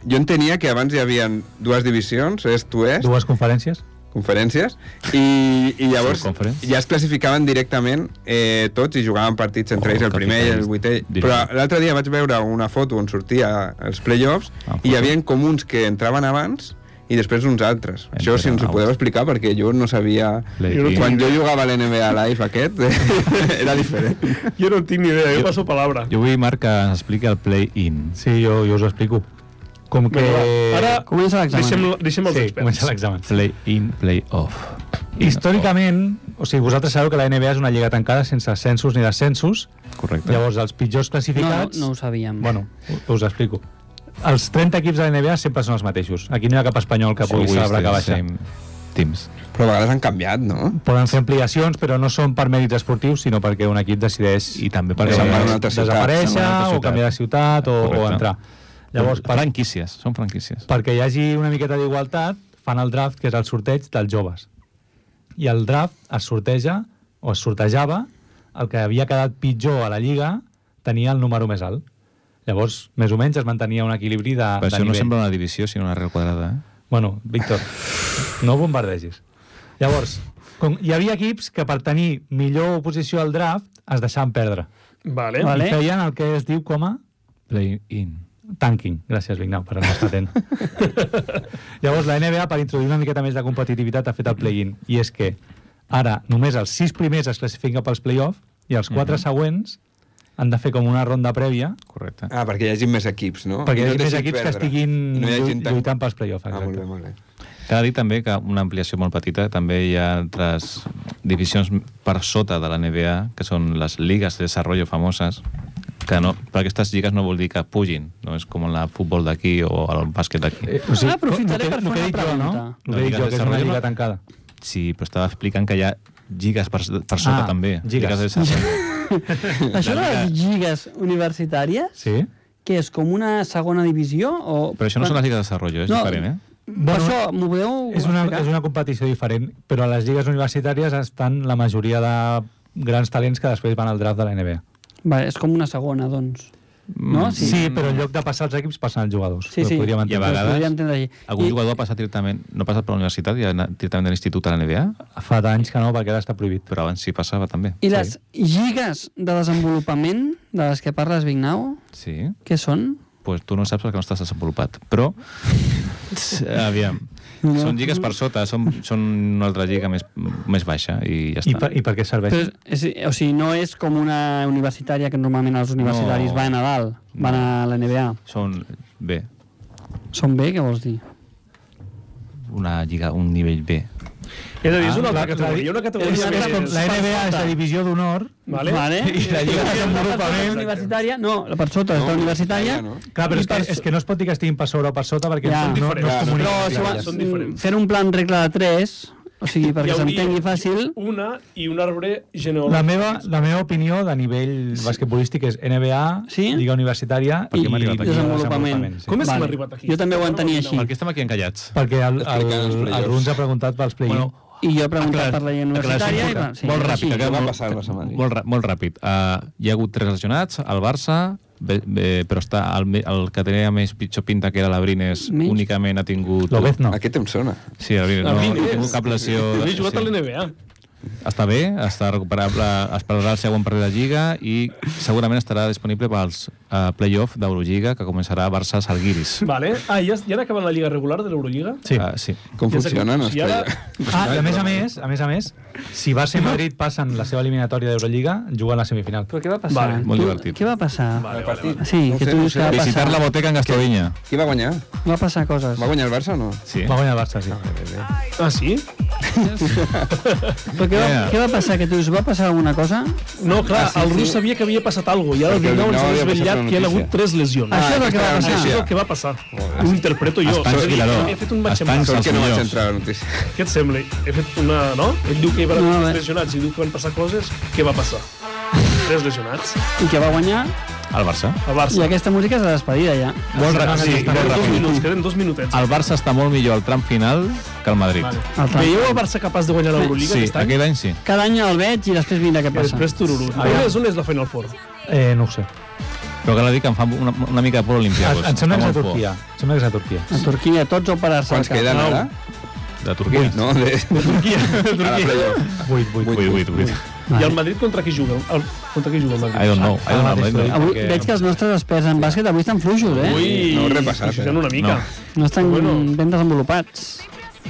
[SPEAKER 4] jo entenia que abans hi havia dues divisions, est-oest,
[SPEAKER 2] Dues conferències.
[SPEAKER 4] conferències, i, i llavors
[SPEAKER 7] Sí, conference.
[SPEAKER 4] ja es classificaven directament eh, tots i jugaven partits entre
[SPEAKER 7] Oh,
[SPEAKER 4] ells, el primer i el
[SPEAKER 7] capitalista.
[SPEAKER 4] vuitè.
[SPEAKER 7] Directe.
[SPEAKER 4] Però l'altre dia vaig veure una foto on sortia els playoffs
[SPEAKER 7] Ah,
[SPEAKER 4] i hi
[SPEAKER 7] foto.
[SPEAKER 4] havia com uns que entraven abans i després uns altres. Això si ens ho
[SPEAKER 7] Entren
[SPEAKER 4] podeu
[SPEAKER 7] abans.
[SPEAKER 4] explicar perquè jo no sabia...
[SPEAKER 7] Play
[SPEAKER 1] Jo no
[SPEAKER 7] in.
[SPEAKER 4] Quan jo jugava a l'NBA Live aquest, (laughs) era diferent.
[SPEAKER 1] Jo no en tinc ni idea, jo,
[SPEAKER 7] Jo-
[SPEAKER 1] passo palabra.
[SPEAKER 7] Jo vull, Marc, que ens expliqui el play-in.
[SPEAKER 2] Sí, jo, jo us ho explico. Com que...
[SPEAKER 1] Vinga, va. Ara
[SPEAKER 3] Comença l'examen.
[SPEAKER 1] deixem, deixem els
[SPEAKER 2] sí,
[SPEAKER 1] experts.
[SPEAKER 2] comença l'examen.
[SPEAKER 7] Play-in, play-off.
[SPEAKER 2] Històricament, o sigui, vosaltres sabeu que la NBA és una lliga tancada sense ascensos ni descensos.
[SPEAKER 7] Correcte.
[SPEAKER 2] Llavors, els pitjors
[SPEAKER 3] No, no,
[SPEAKER 2] classificats...
[SPEAKER 3] no ho sabíem.
[SPEAKER 2] Bueno, us ho explico. Els 30 equips de la NBA sempre són els mateixos. Aquí no hi ha cap espanyol que pugui
[SPEAKER 7] Always
[SPEAKER 2] celebrar que
[SPEAKER 7] the
[SPEAKER 2] baixa.
[SPEAKER 7] same Teams.
[SPEAKER 4] Però a vegades han canviat, no?
[SPEAKER 2] Poden ser ampliacions, però no són per mèrits esportius, sinó perquè un equip decideix
[SPEAKER 7] I també perquè
[SPEAKER 2] eh,
[SPEAKER 4] se'n va a una altra ciutat,
[SPEAKER 2] desaparèixer
[SPEAKER 7] se'n va a una altra
[SPEAKER 2] o
[SPEAKER 7] ciutat.
[SPEAKER 2] canviar de ciutat o, o
[SPEAKER 7] Correcte.
[SPEAKER 2] entrar. Llavors, per,
[SPEAKER 7] franquícies, són franquícies.
[SPEAKER 2] perquè hi hagi una miqueta d'igualtat, fan el draft, que és el sorteig dels joves. I el draft es sorteja, o es sortejava, el que havia quedat pitjor a la Lliga tenia el número més alt. Llavors, més o menys, es mantenia un equilibri de,
[SPEAKER 7] Per
[SPEAKER 2] de
[SPEAKER 7] això no
[SPEAKER 2] nivell.
[SPEAKER 7] sembla una divisió, sinó una real quadrada. Eh?
[SPEAKER 2] Bueno, Víctor, no bombardegis. Llavors, com hi havia equips que per tenir millor posició al draft es deixaven perdre.
[SPEAKER 1] Vale.
[SPEAKER 3] Vale.
[SPEAKER 2] I feien el que es diu com a
[SPEAKER 7] Play-in.
[SPEAKER 2] tanking. Gràcies, Vignau, per estar atent. Llavors, la NBA, per introduir una miqueta més de competitivitat, ha fet el play-in. I és que ara només els sis primers es classifiquen pels play-off i els quatre següents han de fer com una ronda prèvia
[SPEAKER 7] Correcte.
[SPEAKER 4] Ah, perquè hi hagi més equips, no?
[SPEAKER 2] perquè
[SPEAKER 4] I
[SPEAKER 2] hi
[SPEAKER 4] no
[SPEAKER 2] hagi més
[SPEAKER 4] deixin
[SPEAKER 2] equips que
[SPEAKER 4] perdre.
[SPEAKER 2] estiguin
[SPEAKER 4] I no hi hagi
[SPEAKER 2] llu-
[SPEAKER 4] tant-
[SPEAKER 2] lluitant pels play-off.
[SPEAKER 4] Ah, molt bé,
[SPEAKER 2] Exacte.
[SPEAKER 4] molt bé.
[SPEAKER 7] Cal dir també que una ampliació molt petita, també hi ha altres divisions per sota de la NBA, que són les lligues de desenvolupament famoses, que no, per aquestes lligues no vol dir que pugin, no és com en el futbol d'aquí o el bàsquet d'aquí.
[SPEAKER 2] o
[SPEAKER 3] Ah, aprofitaré per fer una pregunta.
[SPEAKER 2] El que dic jo, que és una
[SPEAKER 7] desarrollo.
[SPEAKER 2] lliga tancada.
[SPEAKER 7] Sí, però estava explicant que hi ha lligues per, per sota
[SPEAKER 2] Ah,
[SPEAKER 7] també.
[SPEAKER 2] lligues.
[SPEAKER 7] de desarrollo.
[SPEAKER 3] Això de les
[SPEAKER 7] lliga-
[SPEAKER 3] lligues universitàries,
[SPEAKER 2] Sí?
[SPEAKER 3] que és com una segona divisió? O...
[SPEAKER 7] Però això no són les lligues de desarrollo, és
[SPEAKER 3] No.
[SPEAKER 7] diferent, eh?
[SPEAKER 3] Per això, m'ho podeu
[SPEAKER 2] És una,
[SPEAKER 3] explicar?
[SPEAKER 2] és una competició diferent, però a les lligues universitàries estan la majoria de grans talents que després van al draft de la NBA.
[SPEAKER 3] Vale, és com una segona, doncs.
[SPEAKER 7] Mm,
[SPEAKER 3] No?
[SPEAKER 2] Sí, sí però en lloc de passar els equips, passen els jugadors.
[SPEAKER 3] Sí,
[SPEAKER 2] Ho
[SPEAKER 3] sí.
[SPEAKER 2] Podríem
[SPEAKER 7] I a
[SPEAKER 2] entendre.
[SPEAKER 7] vegades-
[SPEAKER 3] Podria entendre així.
[SPEAKER 7] Algun
[SPEAKER 3] I-
[SPEAKER 7] jugador ha passat directament, no ha passat per la universitat i ha anat directament de l'institut a la NBA,
[SPEAKER 2] Fa anys que no, perquè ara està prohibit.
[SPEAKER 7] però abans sí passava també.
[SPEAKER 3] I les lligues de desenvolupament de les que parles, Vignau,
[SPEAKER 7] Sí.
[SPEAKER 3] què són?
[SPEAKER 7] pues tu no saps perquè no estàs desenvolupat.
[SPEAKER 3] (laughs)
[SPEAKER 7] Però, aviam,
[SPEAKER 3] No.
[SPEAKER 7] són lligues per sota, són, són una altra lliga més, més baixa i ja
[SPEAKER 2] I
[SPEAKER 7] està.
[SPEAKER 2] per, I per què serveix?
[SPEAKER 3] Però és, és, o sigui, no és com una universitària que normalment els universitaris
[SPEAKER 7] No.
[SPEAKER 3] van a dalt, van a la NBA.
[SPEAKER 7] Són, bé,
[SPEAKER 3] Són bé, què vols dir?
[SPEAKER 7] una lliga, un nivell B.
[SPEAKER 1] He de dir, és una
[SPEAKER 2] la-
[SPEAKER 1] altra
[SPEAKER 2] la-
[SPEAKER 1] categoria. Una categoria
[SPEAKER 3] és com
[SPEAKER 1] més...
[SPEAKER 2] La NBA és la divisió d'honor.
[SPEAKER 1] Vale?
[SPEAKER 3] vale.
[SPEAKER 2] I la lliga de desenvolupament.
[SPEAKER 3] universitària, no, la per sota és la universitària.
[SPEAKER 4] no.
[SPEAKER 2] Clar, però
[SPEAKER 3] I
[SPEAKER 2] és que,
[SPEAKER 3] per so-
[SPEAKER 2] és que no es pot dir que estiguin per sobre o per sota perquè
[SPEAKER 3] Ja.
[SPEAKER 2] no, no, no es
[SPEAKER 1] Diferents.
[SPEAKER 2] comuniquen.
[SPEAKER 3] Però si
[SPEAKER 1] Són
[SPEAKER 3] va-
[SPEAKER 1] diferents. diferents.
[SPEAKER 3] fent un plan regla de 3, o sigui, perquè
[SPEAKER 1] Hi hauria
[SPEAKER 3] s'entengui fàcil,
[SPEAKER 1] Una i un arbre
[SPEAKER 2] La
[SPEAKER 1] genealògic.
[SPEAKER 2] meva, la meva opinió de nivell basquetbolístic és NBA,
[SPEAKER 3] Sí?
[SPEAKER 2] Lliga Universitària
[SPEAKER 7] Per què
[SPEAKER 2] i
[SPEAKER 7] hem arribat aquí?
[SPEAKER 3] desenvolupament.
[SPEAKER 2] sí.
[SPEAKER 1] Com és que hem arribat aquí?
[SPEAKER 3] Jo també ho entenia així.
[SPEAKER 7] Per què estem aquí encallats?
[SPEAKER 2] Perquè el, el,
[SPEAKER 4] Explicant els
[SPEAKER 2] el,
[SPEAKER 4] playoffs.
[SPEAKER 2] Run ha preguntat pels play-in.
[SPEAKER 7] Bueno,
[SPEAKER 2] Bueno,
[SPEAKER 3] I jo he preguntat
[SPEAKER 7] Aclar-
[SPEAKER 3] per la llei universitària. I, va,
[SPEAKER 7] aclaració. molt ràpid.
[SPEAKER 3] així.
[SPEAKER 7] que
[SPEAKER 4] va
[SPEAKER 7] molt-
[SPEAKER 4] passar la setmana?
[SPEAKER 7] Molt, ra- molt ràpid. Uh, hi ha hagut tres lesionats, el Barça, bé, bé, però està el, me- el que tenia més pitjor pinta que era l'Abrines,
[SPEAKER 3] Menys?
[SPEAKER 7] únicament ha tingut...
[SPEAKER 2] López no.
[SPEAKER 4] A què temps sona?
[SPEAKER 7] Sí, l'Abrines, no, no
[SPEAKER 1] Abrines.
[SPEAKER 7] ha tingut cap lesió.
[SPEAKER 1] Havia jugat a l'NBA.
[SPEAKER 7] Està bé, està recuperable, esperarà el següent partit de Lliga i segurament estarà disponible pels uh, play-off d'Eurolliga que començarà a Barça Salguiris.
[SPEAKER 1] Vale. Ah, ja, ja han acabat la lliga regular de l'Eurolliga?
[SPEAKER 2] Sí.
[SPEAKER 7] Uh, sí.
[SPEAKER 4] Com
[SPEAKER 1] Ja sé
[SPEAKER 4] funciona?
[SPEAKER 1] com-
[SPEAKER 4] No
[SPEAKER 1] si ara-
[SPEAKER 2] Ah, i a més a més, a més a més, si va ser Madrid passen la seva eliminatòria d'Eurolliga, juguen la semifinal.
[SPEAKER 3] Però què va passar?
[SPEAKER 1] Vale,
[SPEAKER 7] molt
[SPEAKER 3] Tu-
[SPEAKER 7] divertit.
[SPEAKER 3] Què va passar?
[SPEAKER 1] Vale, vale, vale.
[SPEAKER 3] Sí,
[SPEAKER 4] No ho
[SPEAKER 3] que
[SPEAKER 4] sé,
[SPEAKER 3] tu
[SPEAKER 4] no ho
[SPEAKER 3] dius
[SPEAKER 4] sé.
[SPEAKER 3] que va
[SPEAKER 7] Visitar
[SPEAKER 3] passar,
[SPEAKER 7] la boteca en Gastovinya.
[SPEAKER 4] Qui va guanyar?
[SPEAKER 3] va passar coses.
[SPEAKER 4] Va guanyar el Barça o no?
[SPEAKER 7] Sí.
[SPEAKER 2] Va guanyar el Barça, sí.
[SPEAKER 1] Ah, sí?
[SPEAKER 3] Però què va,
[SPEAKER 7] Yeah.
[SPEAKER 3] què va passar? Que tu dius, va passar alguna cosa?
[SPEAKER 1] No, clar, el rus sabia que havia passat alguna cosa i ara el
[SPEAKER 4] Perquè el
[SPEAKER 1] Vignau ens ha
[SPEAKER 4] Vignau havia
[SPEAKER 1] desvetllat
[SPEAKER 4] passat una
[SPEAKER 1] que hi ha
[SPEAKER 4] notícia.
[SPEAKER 1] hagut tres
[SPEAKER 7] Ah,
[SPEAKER 1] lesions.
[SPEAKER 3] Això és el que va
[SPEAKER 1] Això
[SPEAKER 4] aquesta
[SPEAKER 3] passar.
[SPEAKER 1] és
[SPEAKER 4] notícia.
[SPEAKER 1] el que va passar. Ho interpreto jo.
[SPEAKER 7] Espanys,
[SPEAKER 1] És a dir,
[SPEAKER 7] Vilaró.
[SPEAKER 1] He fet un matxemàs.
[SPEAKER 7] Espanys,
[SPEAKER 4] Sort
[SPEAKER 7] Els
[SPEAKER 4] que no vaig
[SPEAKER 7] millors.
[SPEAKER 4] entrar a la notícia.
[SPEAKER 1] Què et sembla? He fet una... No? Ell diu que hi va haver
[SPEAKER 3] No,
[SPEAKER 1] no,
[SPEAKER 3] bé.
[SPEAKER 1] lesionats i diu que van passar coses. Què va passar? Tres lesionats.
[SPEAKER 3] I que va guanyar,
[SPEAKER 7] El Barça.
[SPEAKER 1] El
[SPEAKER 3] i
[SPEAKER 1] Barça.
[SPEAKER 3] aquesta música és la despedida ja.
[SPEAKER 7] Molt ràpid. Sí, molt
[SPEAKER 1] Queden dos
[SPEAKER 7] ràpid.
[SPEAKER 1] minuts, queden dos minutets.
[SPEAKER 7] El Barça està molt millor al tram final que el Madrid.
[SPEAKER 1] Vale.
[SPEAKER 3] El tram.
[SPEAKER 1] Veieu el Barça capaç de guanyar l'Euroliga
[SPEAKER 7] Sí,
[SPEAKER 1] aquest any?
[SPEAKER 7] aquest any sí.
[SPEAKER 3] Cada any el veig i després mira què
[SPEAKER 1] I
[SPEAKER 3] passa.
[SPEAKER 1] després Tururu. On és, on és la Final Four?
[SPEAKER 2] Eh, no ho sé.
[SPEAKER 7] Però cal dir que em fa una, una mica de por l'Olimpiakos.
[SPEAKER 2] Em sembla que és
[SPEAKER 7] Fa
[SPEAKER 2] a
[SPEAKER 7] molt por.
[SPEAKER 2] Turquia. Em sembla que és a Turquia.
[SPEAKER 3] A Turquia, tots o parar-se al
[SPEAKER 4] Quants
[SPEAKER 3] cap.
[SPEAKER 4] queden ara?
[SPEAKER 7] De Turquia.
[SPEAKER 4] No, de... Turquia. A la playoff.
[SPEAKER 2] Vuit, vuit.
[SPEAKER 7] Vuit, vuit, vuit.
[SPEAKER 1] I el Madrid contra qui juga? El, contra qui juga el Madrid?
[SPEAKER 7] I don't
[SPEAKER 2] Ah,
[SPEAKER 7] know. I don't know. I don't know.
[SPEAKER 3] Avui, veig que els nostres experts en bàsquet avui estan fluixos, eh?
[SPEAKER 1] Ui,
[SPEAKER 4] No ho he repassat,
[SPEAKER 1] això
[SPEAKER 4] eh?
[SPEAKER 1] una mica.
[SPEAKER 3] No estan
[SPEAKER 1] Bueno.
[SPEAKER 3] ben desenvolupats.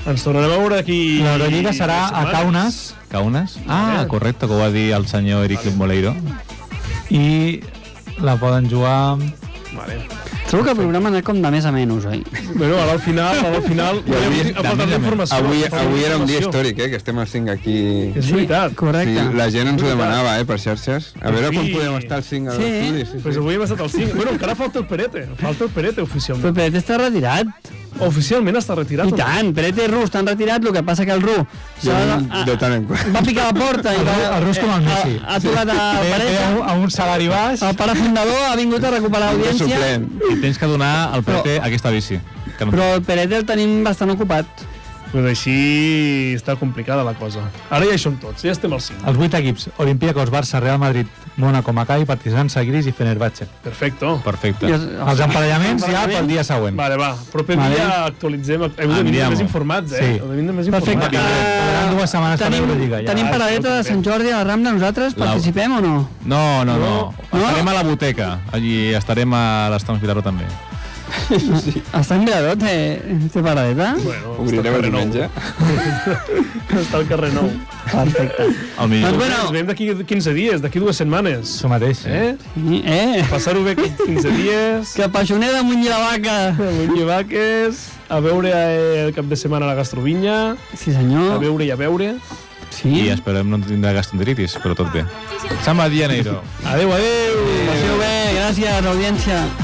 [SPEAKER 1] Ens tornarem a veure aquí...
[SPEAKER 2] L'Eurolliga serà a Kaunas
[SPEAKER 7] Kaunas? Ah, correcte, que ho va dir el senyor Eric Moleiro.
[SPEAKER 2] i la poden jugar...
[SPEAKER 1] Vale.
[SPEAKER 3] Trobo que el programa ha anat com de més a menys, oi?
[SPEAKER 1] Bueno, ara al final, ara al final...
[SPEAKER 4] I avui-
[SPEAKER 1] ha faltat
[SPEAKER 7] també-
[SPEAKER 1] informació.
[SPEAKER 4] Avui,
[SPEAKER 1] ha faltat
[SPEAKER 4] avui era un dia
[SPEAKER 1] informació.
[SPEAKER 4] històric, eh, que estem els 5 aquí.
[SPEAKER 1] És veritat.
[SPEAKER 4] Sí,
[SPEAKER 3] Correcte.
[SPEAKER 4] la gent ens ho demanava, eh, per xarxes. A veure quan
[SPEAKER 1] Sí.
[SPEAKER 4] podem estar els 5 a
[SPEAKER 3] Sí.
[SPEAKER 4] l'estudi. Sí,
[SPEAKER 1] Pues avui hem estat al 5. Bueno, encara falta el Perete. Falta el Perete,
[SPEAKER 3] Però
[SPEAKER 1] oficialment.
[SPEAKER 3] Peret està retirat.
[SPEAKER 1] Oficialment està retirat.
[SPEAKER 3] I tant, Peret i Ru estan retirats, el que passa que el Ru
[SPEAKER 4] Jo,
[SPEAKER 3] s'ha de- ah,
[SPEAKER 4] de tant en quant.
[SPEAKER 3] va picar la porta i va...
[SPEAKER 2] El Ru és com el Messi.
[SPEAKER 3] Ha aturat el
[SPEAKER 2] Ve, ve a,
[SPEAKER 3] Peret,
[SPEAKER 2] un, a un salari baix
[SPEAKER 3] el pare fundador ha vingut a recuperar
[SPEAKER 4] Sempre
[SPEAKER 3] l'audiència,
[SPEAKER 4] suplent.
[SPEAKER 7] I tens que donar al PT aquesta bici. Que no...
[SPEAKER 3] però el Peret el tenim bastant ocupat.
[SPEAKER 1] Pues així està complicada la cosa. Ara ja hi som tots, ja estem al
[SPEAKER 3] Ah.
[SPEAKER 1] 5.
[SPEAKER 2] Els vuit equips, Olympiacos, Barça, Real Madrid, Mónaco, Macai, Partizan, Sagris i Fenerbahçe.
[SPEAKER 1] Perfecto.
[SPEAKER 7] Perfecte.
[SPEAKER 3] I els-
[SPEAKER 2] Els emparellaments ja pel dia següent.
[SPEAKER 1] Vale, va. Proper
[SPEAKER 3] Vale.
[SPEAKER 1] dia actualitzem... Heu de venir
[SPEAKER 7] Andiamo.
[SPEAKER 1] més informats, eh?
[SPEAKER 2] Sí.
[SPEAKER 1] Heu de venir més
[SPEAKER 3] Perfecte.
[SPEAKER 1] informats.
[SPEAKER 2] Quedaran dues setmanes per
[SPEAKER 3] tenim,
[SPEAKER 2] l'Eurolliga. Ja.
[SPEAKER 3] tenim
[SPEAKER 1] Ah,
[SPEAKER 3] paradeta de
[SPEAKER 1] escolta,
[SPEAKER 3] Sant Jordi a la Rambla, nosaltres
[SPEAKER 7] La-
[SPEAKER 3] participem o no?
[SPEAKER 7] No, no, no.
[SPEAKER 3] No?
[SPEAKER 7] Estarem a la boteca. Allí estarem a l'Estams Vilaró també.
[SPEAKER 3] Està en Vilador, té, eh? té paradeta?
[SPEAKER 1] Bueno,
[SPEAKER 4] Obrirem el
[SPEAKER 1] carrer Nou.
[SPEAKER 4] diumenge.
[SPEAKER 1] Està al carrer Nou.
[SPEAKER 3] Perfecte.
[SPEAKER 7] El millor.
[SPEAKER 1] Bueno.
[SPEAKER 3] Doncs bé. Bueno.
[SPEAKER 1] Ens veiem d'aquí 15 dies, d'aquí dues setmanes.
[SPEAKER 2] Això mateix.
[SPEAKER 1] Eh?
[SPEAKER 3] Eh?
[SPEAKER 1] Passar-ho bé aquests 15 dies.
[SPEAKER 3] Que Paixoner de Muny la Vaca.
[SPEAKER 1] Muñe Vaques, a veure eh, el cap de setmana a la Gastrovinya,
[SPEAKER 3] Sí,
[SPEAKER 1] a
[SPEAKER 3] senyor.
[SPEAKER 1] veure i a veure.
[SPEAKER 3] Sí.
[SPEAKER 7] I esperem no tindre gastroenteritis, però tot bé. Samba Dianeiro.
[SPEAKER 1] Adeu, adeu!
[SPEAKER 3] Passeu bé. Gràcies, audiència.